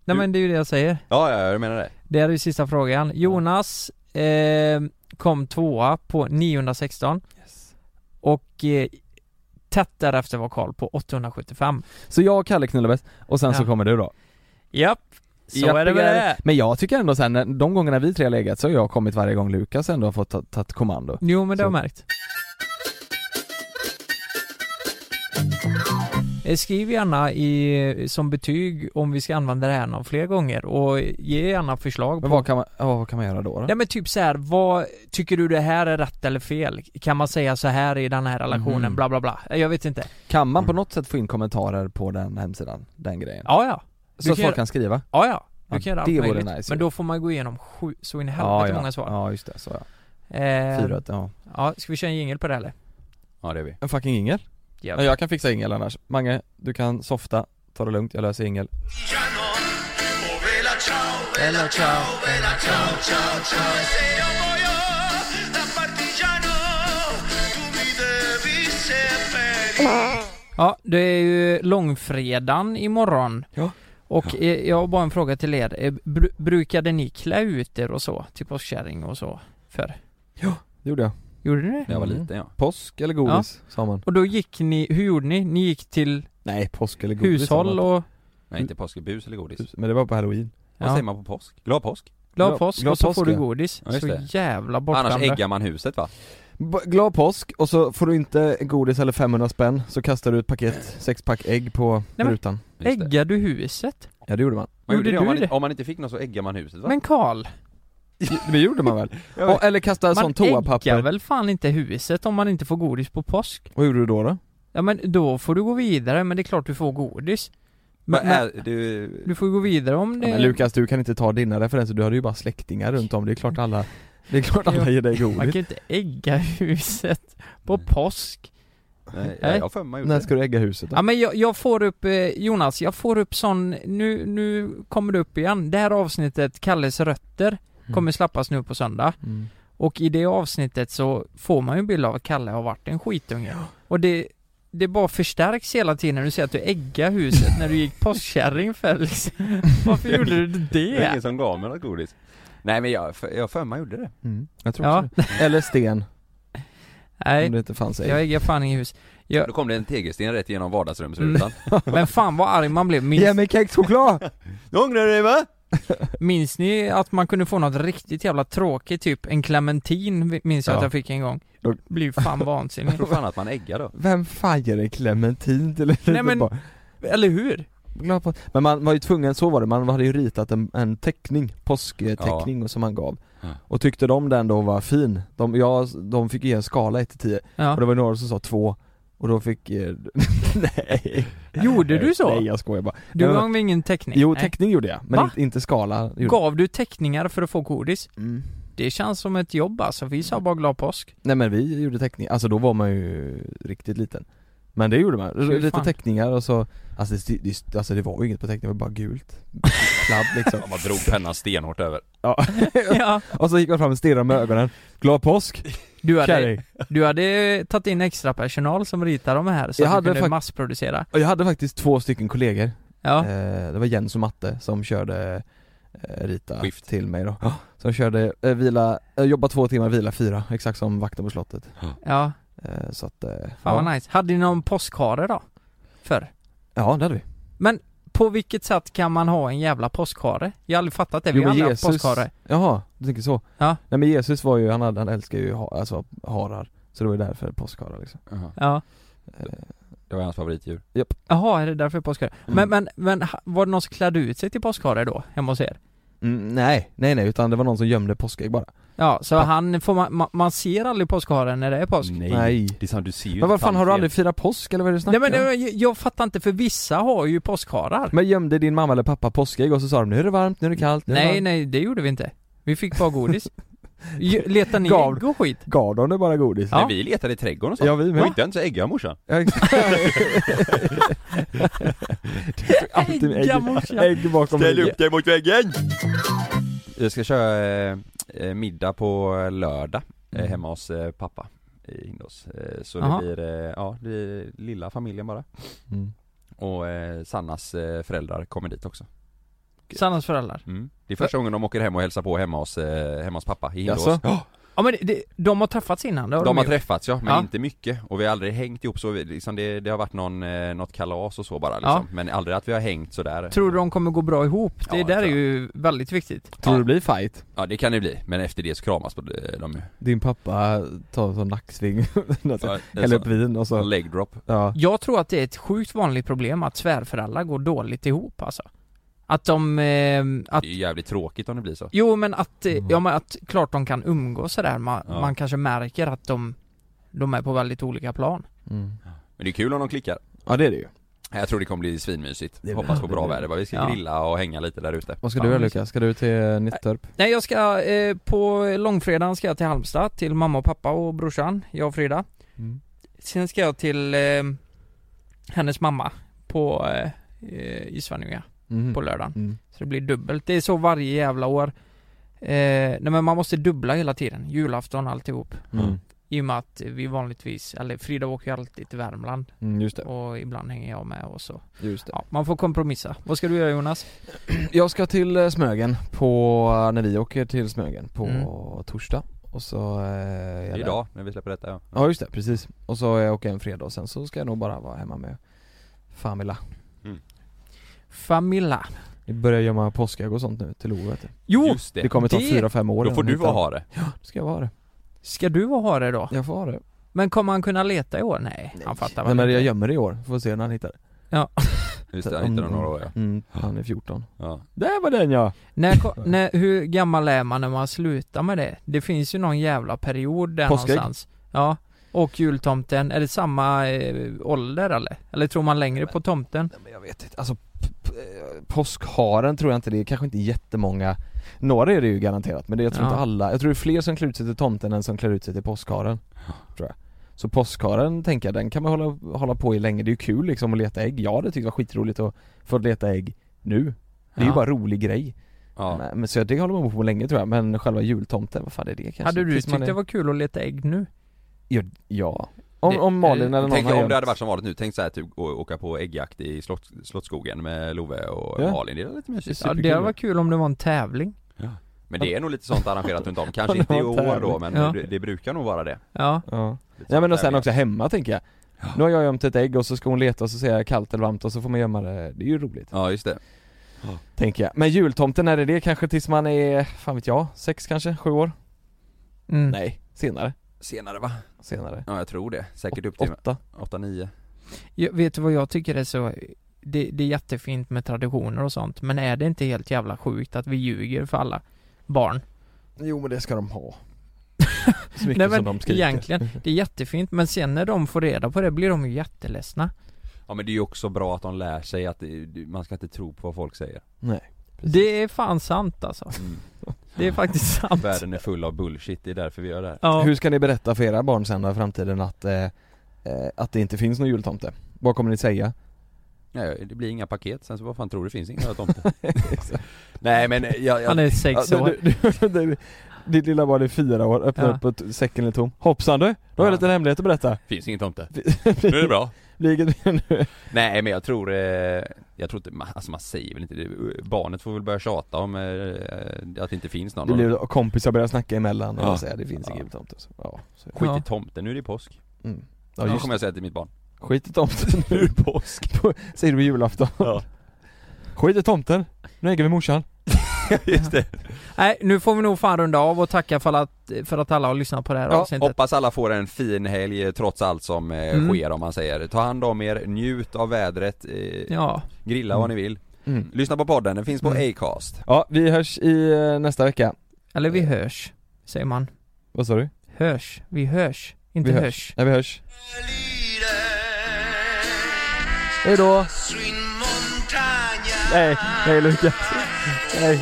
Speaker 2: Nej men det är ju det jag säger.
Speaker 3: Ja, ja, jag menar det
Speaker 2: Det är ju sista frågan. Jonas eh, kom tvåa på 916 och eh, tätt därefter var Karl på 875.
Speaker 1: Så jag och Kalle knullar bäst, och sen så
Speaker 2: Ja.
Speaker 1: kommer du då.
Speaker 2: Japp, så
Speaker 1: Japp,
Speaker 2: är det med det.
Speaker 1: Men jag tycker ändå sen, när- de gångerna vi tre har legat så har jag kommit varje gång Lukas ändå har fått ta- tagit kommando.
Speaker 2: Jo men det har jag
Speaker 1: Så.
Speaker 2: märkt. Eh, Skriv gärna i, som betyg om vi ska använda det här någon fler gånger och ge gärna förslag
Speaker 1: Men
Speaker 2: på
Speaker 1: vad kan man, ja, vad kan man göra då? då?
Speaker 2: Nej men typ så här, vad tycker du det här är rätt eller fel? Kan man säga så här i den här relationen,
Speaker 1: Mhm.
Speaker 2: bla bla bla? Eh, Jag vet inte.
Speaker 1: Kan man på något sätt få in kommentarer på den hemsidan, den grejen?
Speaker 2: Mm. Ja ja. Du
Speaker 1: så att
Speaker 2: kan
Speaker 1: folk
Speaker 2: göra-
Speaker 1: kan skriva?
Speaker 2: Ja ja. Du
Speaker 1: Ja,
Speaker 2: kan göra
Speaker 1: det
Speaker 2: allt
Speaker 1: vore
Speaker 2: möjligt.
Speaker 1: nice,
Speaker 2: men
Speaker 1: ja.
Speaker 2: då får man gå igenom sju, så in i helvete
Speaker 1: Ja, ja.
Speaker 2: många svar.
Speaker 1: Ja just det, så ja.
Speaker 2: Eh,
Speaker 1: Fyra, ja.
Speaker 2: ja, ska vi köra en jingel på det eller?
Speaker 3: Ja det är vi
Speaker 1: En fucking ingel? Ja, jag kan fixa ingel annars. Mange, du kan softa, ta det lugnt, jag löser ingel.
Speaker 2: Ja, det är ju långfredagen imorgon.
Speaker 1: Ja.
Speaker 2: Och eh, jag har bara en fråga till er. Eh, Bru- brukade ni klä ut er och så? Till påskkärring och så? För
Speaker 1: Det gjorde jag.
Speaker 2: Gjorde ni det?
Speaker 3: När jag var
Speaker 1: Mm.
Speaker 3: liten ja
Speaker 1: Påsk eller godis, sa man.
Speaker 2: Och då gick ni, hur gjorde ni? Ni gick till
Speaker 1: Nej, påsk eller godis sa
Speaker 2: hushåll
Speaker 1: man.
Speaker 2: och
Speaker 3: Nej inte påskbus eller godis
Speaker 1: Men det var på halloween.
Speaker 3: Vad
Speaker 2: Ja.
Speaker 3: säger man på påsk? Glad påsk?
Speaker 2: glad
Speaker 1: Glad-
Speaker 2: påsk
Speaker 1: glad
Speaker 2: och så
Speaker 1: påsk,
Speaker 2: får du
Speaker 1: ja.
Speaker 2: godis.
Speaker 3: Ja, just
Speaker 2: så
Speaker 3: det.
Speaker 2: jävla
Speaker 3: Annars
Speaker 2: bortskämda.
Speaker 3: äggar man huset va?
Speaker 1: B- glad påsk och så får du inte godis eller 500 spänn så kastar du ett paket, sexpack ägg på
Speaker 2: men-
Speaker 1: rutan.
Speaker 3: Just det.
Speaker 2: Äggar du huset?
Speaker 1: Ja det gjorde man.
Speaker 3: Man
Speaker 2: Gjorde
Speaker 3: gjorde det, om
Speaker 2: du
Speaker 3: man,
Speaker 2: det?
Speaker 3: inte- om man inte fick något så äggar man huset va?
Speaker 2: Men Karl,
Speaker 1: Det gjorde man väl?
Speaker 3: Ja.
Speaker 1: Och, eller kasta
Speaker 2: man
Speaker 1: sånt toapapper.
Speaker 2: äggar väl fan inte huset om man inte får godis på påsk?
Speaker 1: Vad gjorde du då då?
Speaker 2: Ja men då får du gå vidare, men det är klart du får godis.
Speaker 3: Men,
Speaker 2: Men,
Speaker 3: är,
Speaker 2: men,
Speaker 3: du,
Speaker 2: du får ju gå vidare om det...
Speaker 1: Ja, men Lukas du kan inte ta dina referenser, du hade ju bara släktingar runt om, det är klart alla Det är klart alla ger dig
Speaker 2: man kan
Speaker 1: godis.
Speaker 2: ju inte ägga huset på
Speaker 3: Nej.
Speaker 2: påsk.
Speaker 3: nej,
Speaker 2: Nej.
Speaker 3: jag har för mig man
Speaker 1: När
Speaker 3: gjorde det
Speaker 1: ska du ägga huset
Speaker 2: Ja
Speaker 1: då?
Speaker 2: men jag, jag får upp, eh, Jonas, jag får upp sån, nu, nu kommer det upp igen. Det här avsnittet, Kalles rötter,
Speaker 1: Mm.
Speaker 2: kommer släppas nu på söndag.
Speaker 1: Mm.
Speaker 2: Och i det avsnittet så får man ju en bild av att Kalle har varit en skitunge. Och det, det bara förstärks hela tiden när du säger att du äggar huset när du gick påskkärring för liksom. Varför gjorde du
Speaker 3: Det var ingen
Speaker 2: det?
Speaker 3: som gav mig något godis Nej men jag har för- jag har för mig gjorde det
Speaker 1: Mm. Jag tror
Speaker 2: Ja,
Speaker 1: också det. Eller sten, om
Speaker 2: nej.
Speaker 1: det inte fanns
Speaker 2: Jag
Speaker 1: ägg.
Speaker 2: äggar fan inget hus.
Speaker 3: Då kom det en tegelsten rätt igenom vardagsrumsrutan
Speaker 2: Men fan vad arg man blev. Minns,
Speaker 1: mig kexchoklad!
Speaker 3: Nu ångrar du dig va?
Speaker 2: minns ni att man kunde få något riktigt jävla tråkigt, typ en clementin minns jag
Speaker 1: Ja.
Speaker 2: att jag fick en gång.
Speaker 1: Då-
Speaker 2: Blev fan
Speaker 3: Jag
Speaker 2: vansinnig.
Speaker 3: tror fan att man äggar då
Speaker 1: Vem fajer en clementin till ett
Speaker 2: Nej,
Speaker 1: litet
Speaker 2: men-
Speaker 1: barn?
Speaker 2: Eller hur?
Speaker 1: Glad på- Men man var ju tvungen, så var det, man hade ju ritat en, en teckning, påskteckning som man gav
Speaker 3: Ja.
Speaker 1: Och tyckte de den då var fin, de, jag, de fick ge en skala 1-10 och det
Speaker 2: Ja.
Speaker 1: var några som sa 2 och då fick, eh, nej
Speaker 2: Gjorde du
Speaker 1: Nej
Speaker 2: så?
Speaker 1: jag skojar bara
Speaker 2: Du
Speaker 1: Nej, men-
Speaker 2: gav ingen teckning?
Speaker 1: Jo
Speaker 2: Nej.
Speaker 1: teckning gjorde jag, men
Speaker 2: Va?
Speaker 1: inte, inte skala gjorde
Speaker 2: Gav du teckningar för att få godis?
Speaker 1: Mm.
Speaker 2: Det känns som ett jobb alltså, vi sa bara glad påsk
Speaker 1: Nej men vi gjorde teckning, alltså då var man ju riktigt liten Men det gjorde man,
Speaker 2: Fy
Speaker 1: lite
Speaker 2: fan.
Speaker 1: teckningar och så Alltså det, det, alltså det var ju inget på teckningen, det var bara gult Kladd liksom
Speaker 3: Man drog pennan stenhårt över
Speaker 1: ja.
Speaker 2: Ja
Speaker 1: Och så gick man fram och stirrade med ögonen Glad påsk!
Speaker 2: Du hade,
Speaker 1: Kärring!
Speaker 2: du hade tagit in extra personal som ritar de här så
Speaker 1: Jag
Speaker 2: att
Speaker 1: hade
Speaker 2: du kunde
Speaker 1: fak-
Speaker 2: massproducera
Speaker 1: Och jag hade faktiskt två stycken kollegor
Speaker 2: Ja,
Speaker 1: eh, Det var Jens och Matte som körde eh, Rita
Speaker 3: Skift.
Speaker 1: till mig då Som körde, eh, vila, eh, jobba två timmar, vila fyra, exakt som vakten på slottet
Speaker 2: ja,
Speaker 1: eh, Så att, eh,
Speaker 2: fan
Speaker 1: ja.
Speaker 2: vad nice Hade ni någon påskhare då? Förr?
Speaker 1: ja det hade vi
Speaker 2: På vilket sätt kan man ha en jävla påskhare? Jag har aldrig fattat det, vi
Speaker 1: Jo,
Speaker 2: har
Speaker 1: men
Speaker 2: aldrig haft
Speaker 1: Jesus-
Speaker 2: påskhare
Speaker 1: Jaha, du tänker så?
Speaker 2: Ja.
Speaker 1: Nej men Jesus var ju, han, hade, han älskar ju ha, alltså, harar Så det var ju därför påskharar liksom
Speaker 2: Ja,
Speaker 1: eh,
Speaker 3: Det var hans favoritdjur
Speaker 2: jaha är det därför påskhare? Men, men, men ha- var det någon som klädde ut sig till påskhare då, hemma hos er?
Speaker 1: mm, Nej, nej nej utan det var någon som gömde påskägg bara
Speaker 2: Ja, så
Speaker 1: Ja.
Speaker 2: han får man, man, man ser aldrig påskharen när det är påsk
Speaker 3: Alltså, Nej. Det är sant, du ser ju
Speaker 1: Men vad
Speaker 3: inte
Speaker 1: fan har du
Speaker 3: tandfen.
Speaker 1: aldrig firat påsk eller vad är det du
Speaker 2: Nej
Speaker 1: snackar
Speaker 2: men
Speaker 1: om?
Speaker 2: jag, jag fattar inte, för vissa har ju påskharar
Speaker 1: Men gömde din mamma eller pappa påskägg och så sa de nu är det varmt, nu är det kallt, nu är det
Speaker 2: Nej
Speaker 1: varmt.
Speaker 2: nej, det gjorde vi inte. Vi fick bara godis. Ju- Letar ni
Speaker 1: Gav-
Speaker 2: ägg och skit?
Speaker 1: Gav de det bara godis?
Speaker 2: Ja.
Speaker 3: När vi letade i trädgården och sånt
Speaker 1: Ja vi
Speaker 3: Och
Speaker 1: med
Speaker 3: inte ens ägga morsan
Speaker 1: Ja, exakt. Det är alltid med
Speaker 2: Ägga,
Speaker 1: ägg,
Speaker 2: morsan.
Speaker 1: ägg bakom ägg
Speaker 3: dig mot väggen! Jag ska köra eh, eh, middag på lördag eh,
Speaker 1: Mm.
Speaker 3: hemma hos eh, pappa i Hindås eh, Så
Speaker 2: Jaha.
Speaker 3: det blir, eh, ja det blir lilla familjen bara
Speaker 1: mm.
Speaker 3: Och eh, Sannas eh, föräldrar kommer dit också
Speaker 2: Sannas föräldrar.
Speaker 3: mm. Det är första gången de åker hem och hälsar på hemma hos, eh, hemma hos pappa i Hindås
Speaker 1: Jaså?
Speaker 2: Ja men det- det, de har träffats innan, det har
Speaker 3: De har
Speaker 2: gjort.
Speaker 3: träffats ja, men
Speaker 2: Ja.
Speaker 3: inte mycket och vi har aldrig hängt ihop så, vi, liksom det, det har varit någon, eh, något kalas och så bara liksom. Men aldrig att vi har hängt sådär
Speaker 2: Tror du de kommer gå bra ihop? Det
Speaker 3: Ja,
Speaker 2: där är
Speaker 3: tror jag.
Speaker 2: ju väldigt viktigt.
Speaker 1: Tror du det blir fight?
Speaker 3: Ja det kan det bli, men efter det så kramas på eh, de de-
Speaker 1: Din pappa tar en sån nacksving,
Speaker 3: ja, en
Speaker 1: häller
Speaker 3: sån-
Speaker 1: upp vin och
Speaker 3: en
Speaker 1: så,
Speaker 3: leg drop
Speaker 1: ja
Speaker 2: Jag tror att det är ett sjukt vanligt problem att svärföräldrar går dåligt ihop alltså. Att de, eh, att
Speaker 3: Det är ju jävligt tråkigt om det blir så
Speaker 2: Jo men att, eh,
Speaker 1: Mm.
Speaker 2: ja men att klart de kan umgås sådär, man,
Speaker 3: Ja.
Speaker 2: man kanske märker att de, de är på väldigt olika plan.
Speaker 1: mm.
Speaker 3: Men det är kul om de klickar
Speaker 1: Ja det är det ju
Speaker 3: Jag tror det kommer bli svinmysigt,
Speaker 1: Det blir-
Speaker 3: hoppas på
Speaker 1: det
Speaker 3: bra
Speaker 1: blir-
Speaker 3: väder bara, vi ska
Speaker 2: Ja.
Speaker 3: grilla och hänga lite där ute
Speaker 1: Vad ska
Speaker 2: Fan,
Speaker 1: du göra
Speaker 2: vad
Speaker 1: Lukas? Ska du till Nittorp?
Speaker 2: Nej jag ska, eh, på långfredagen ska jag till Halmstad till mamma och pappa och brorsan, jag och Frida.
Speaker 1: Mm.
Speaker 2: Sen ska jag till eh, hennes mamma på, eh, eh, i Svenljunga på lördagen.
Speaker 1: Mm.
Speaker 2: Så det blir dubbelt. Det är så varje jävla år. Eh, nej men man måste dubbla hela tiden, julafton alltihop.
Speaker 1: Mm.
Speaker 2: I och med att vi vanligtvis, eller Frida åker ju alltid till Värmland
Speaker 1: Mm, just det,
Speaker 2: och ibland hänger jag med och så
Speaker 1: just det.
Speaker 2: Ja, man får kompromissa. Vad ska du göra Jonas?
Speaker 1: Jag ska till eh, Smögen på, eh, när vi åker till Smögen på
Speaker 2: Mm.
Speaker 1: torsdag och så... eh, är jag där.
Speaker 3: Idag, när vi släpper detta ja.
Speaker 1: Ja just det, precis. Och så åker jag åker en fredag och sen så ska jag nog bara vara hemma med Famila.
Speaker 2: Familla.
Speaker 1: Vi börjar gömma påskägg och sånt nu till Ove vet du.
Speaker 2: Jo!
Speaker 3: Just det!
Speaker 1: Det kommer ta
Speaker 2: det-
Speaker 1: fyra, fem år
Speaker 3: Då
Speaker 1: innan
Speaker 3: får
Speaker 1: de
Speaker 3: du vara
Speaker 1: hittar dem.
Speaker 3: ha det.
Speaker 1: Ja, då ska jag vara det.
Speaker 2: Ska du vara ha det då?
Speaker 1: Jag får ha det.
Speaker 2: Men kommer han kunna leta i år? Nej, han fattar
Speaker 1: Nej
Speaker 2: väl
Speaker 1: men
Speaker 2: inte.
Speaker 1: jag gömmer det i år, får se när han hittar det.
Speaker 3: Just det, han hittade några år ja.
Speaker 1: Mm, han är 14.
Speaker 3: ja.
Speaker 1: Där var den ja!
Speaker 2: När, ko- när, hur gammal är man när man slutar med det? Det finns ju någon jävla period där
Speaker 1: Påskägg?
Speaker 2: någonstans Ja, och jultomten, är det samma eh, ålder eller? Eller tror man längre på tomten?
Speaker 1: Nej, men jag vet inte, alltså p- p- eh, påskharen tror jag inte, det är kanske inte jättemånga Några är det ju garanterat men det, jag tror
Speaker 2: Ja.
Speaker 1: inte alla, jag tror det är fler som klär ut sig till tomten än som klär ut sig till påskharen Tror jag Så påskharen tänker jag, den kan man hålla, hålla på i länge, det är ju kul liksom att leta ägg Jag hade tyckt det var skitroligt att få leta ägg nu Det är
Speaker 2: Ja.
Speaker 1: ju bara en rolig grej
Speaker 3: ja.
Speaker 1: men, men så det håller man på med länge tror jag, men själva jultomten, vad fan är det kanske?
Speaker 2: Hade du
Speaker 1: Tills man
Speaker 2: tyckt det var kul att leta ägg nu?
Speaker 1: Ja, ja. Om,
Speaker 2: Det-
Speaker 1: om Malin
Speaker 2: eh,
Speaker 1: eller någon
Speaker 3: Tänk
Speaker 1: har
Speaker 3: om
Speaker 1: gömt-
Speaker 3: det hade varit som vanligt nu, tänk såhär typ å- åka på äggjakt i slott, Slottsskogen med Love och
Speaker 1: Ja.
Speaker 3: Malin, det är lite mysigt
Speaker 2: Ja, det
Speaker 1: Superkul.
Speaker 2: hade varit kul om det var en tävling
Speaker 3: Men det är nog lite sånt arrangerat runt om, kanske
Speaker 1: Ja,
Speaker 3: inte i
Speaker 1: det var
Speaker 3: år då
Speaker 1: tävligt.
Speaker 3: men
Speaker 2: Ja.
Speaker 3: det, det brukar nog vara det
Speaker 2: Ja,
Speaker 1: Ja
Speaker 3: Lite
Speaker 1: Ja men
Speaker 3: sånt
Speaker 1: och sen
Speaker 3: tävlingar.
Speaker 1: också hemma tänker jag Nu har jag gömt ett ägg och så ska hon leta och så säger jag kallt eller varmt och så får man gömma det, det är ju roligt
Speaker 3: Ja just det,
Speaker 1: Tänker jag, men jultomten är det det kanske tills man är, fan vet jag, sex kanske, sju år?
Speaker 2: mm.
Speaker 1: Nej, senare,
Speaker 3: senare va?
Speaker 1: senare
Speaker 3: Ja jag tror det, säkert upp till
Speaker 1: Åt- Åtta,
Speaker 3: 8-9
Speaker 2: Jag, vet du vad jag tycker är så det, det är jättefint med traditioner och sånt, men är det inte helt jävla sjukt att vi ljuger för alla barn?
Speaker 1: jo men det ska de ha Så mycket
Speaker 2: Nej, men
Speaker 1: som de skriker
Speaker 2: egentligen, Det är jättefint, men sen när de får reda på det blir de ju jätteledsna.
Speaker 3: Ja men det är ju också bra att de lär sig att det- det- man ska inte tro på vad folk säger
Speaker 1: Nej, precis. Mm.
Speaker 2: Det är fan sant alltså. Det är faktiskt sant.
Speaker 3: Världen är full av bullshit, det är därför vi gör det här
Speaker 2: Ja.
Speaker 1: Hur ska ni berätta för era barn sen då i framtiden att, eh, eh, att det inte finns någon jultomte? Vad kommer ni säga?
Speaker 3: Nej, det blir inga paket, sen så vad fan tror du, det finns inga tomte Nej men eh, jag,
Speaker 2: Han
Speaker 3: jag,
Speaker 2: är sex
Speaker 1: Ja,
Speaker 2: år.
Speaker 1: du, du, du, ditt lilla barn är fyra år, öppnar
Speaker 2: Ja.
Speaker 1: upp och t- säcken är tom Hoppsan du, då har jag
Speaker 3: Ja.
Speaker 1: en liten hemlighet att berätta
Speaker 3: finns ingen tomte
Speaker 1: Nu
Speaker 3: bra
Speaker 1: Blir inget mer nu.
Speaker 3: Nej men jag tror, eh, jag tror inte, ma- alltså man säger väl inte det. Barnet får väl börja tjata om eh, att det inte finns någon
Speaker 1: Det blir kompisar börjar snacka emellan
Speaker 3: Ja.
Speaker 1: och säga det finns
Speaker 3: Ja.
Speaker 1: ingen tomte så, ja, så.
Speaker 3: Skit
Speaker 2: Ja.
Speaker 3: i tomten, nu är det påsk
Speaker 1: Mm.
Speaker 3: Ja
Speaker 1: ja just
Speaker 3: kommer jag säga till mitt barn
Speaker 1: Skit i tomten
Speaker 3: Nu är det påsk
Speaker 1: På- Säger du på julafton
Speaker 3: Ja.
Speaker 1: Skit i tomten, nu äger vi morsan
Speaker 3: Just det
Speaker 2: Nej, nu får vi nog fan runda av och tacka för att, för att alla har lyssnat på det här
Speaker 3: Ja,
Speaker 2: avsnittet.
Speaker 3: hoppas alla får en fin helg eh, trots allt som eh,
Speaker 2: Mm.
Speaker 3: sker om man säger. Ta hand om er, njut av vädret, eh,
Speaker 2: Ja,
Speaker 3: grilla vad ni vill.
Speaker 1: mm.
Speaker 3: Lyssna på podden, den finns på
Speaker 2: Mm.
Speaker 3: Acast.
Speaker 1: Ja, vi hörs i eh, nästa vecka
Speaker 2: eller
Speaker 1: Eh.
Speaker 2: vi hörs, säger man.
Speaker 1: Vad sa du?
Speaker 2: Hörs, vi hörs, inte
Speaker 1: Vi hörs.
Speaker 2: hörs.
Speaker 1: Nej vi hörs Hejdå! Nej, nej Lukas Nej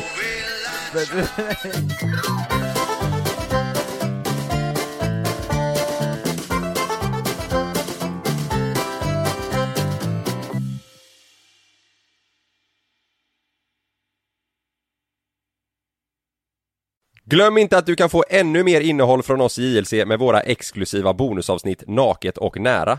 Speaker 3: Glöm inte att du kan få ännu mer innehåll från oss i JLC med våra exklusiva bonusavsnitt Naket och nära.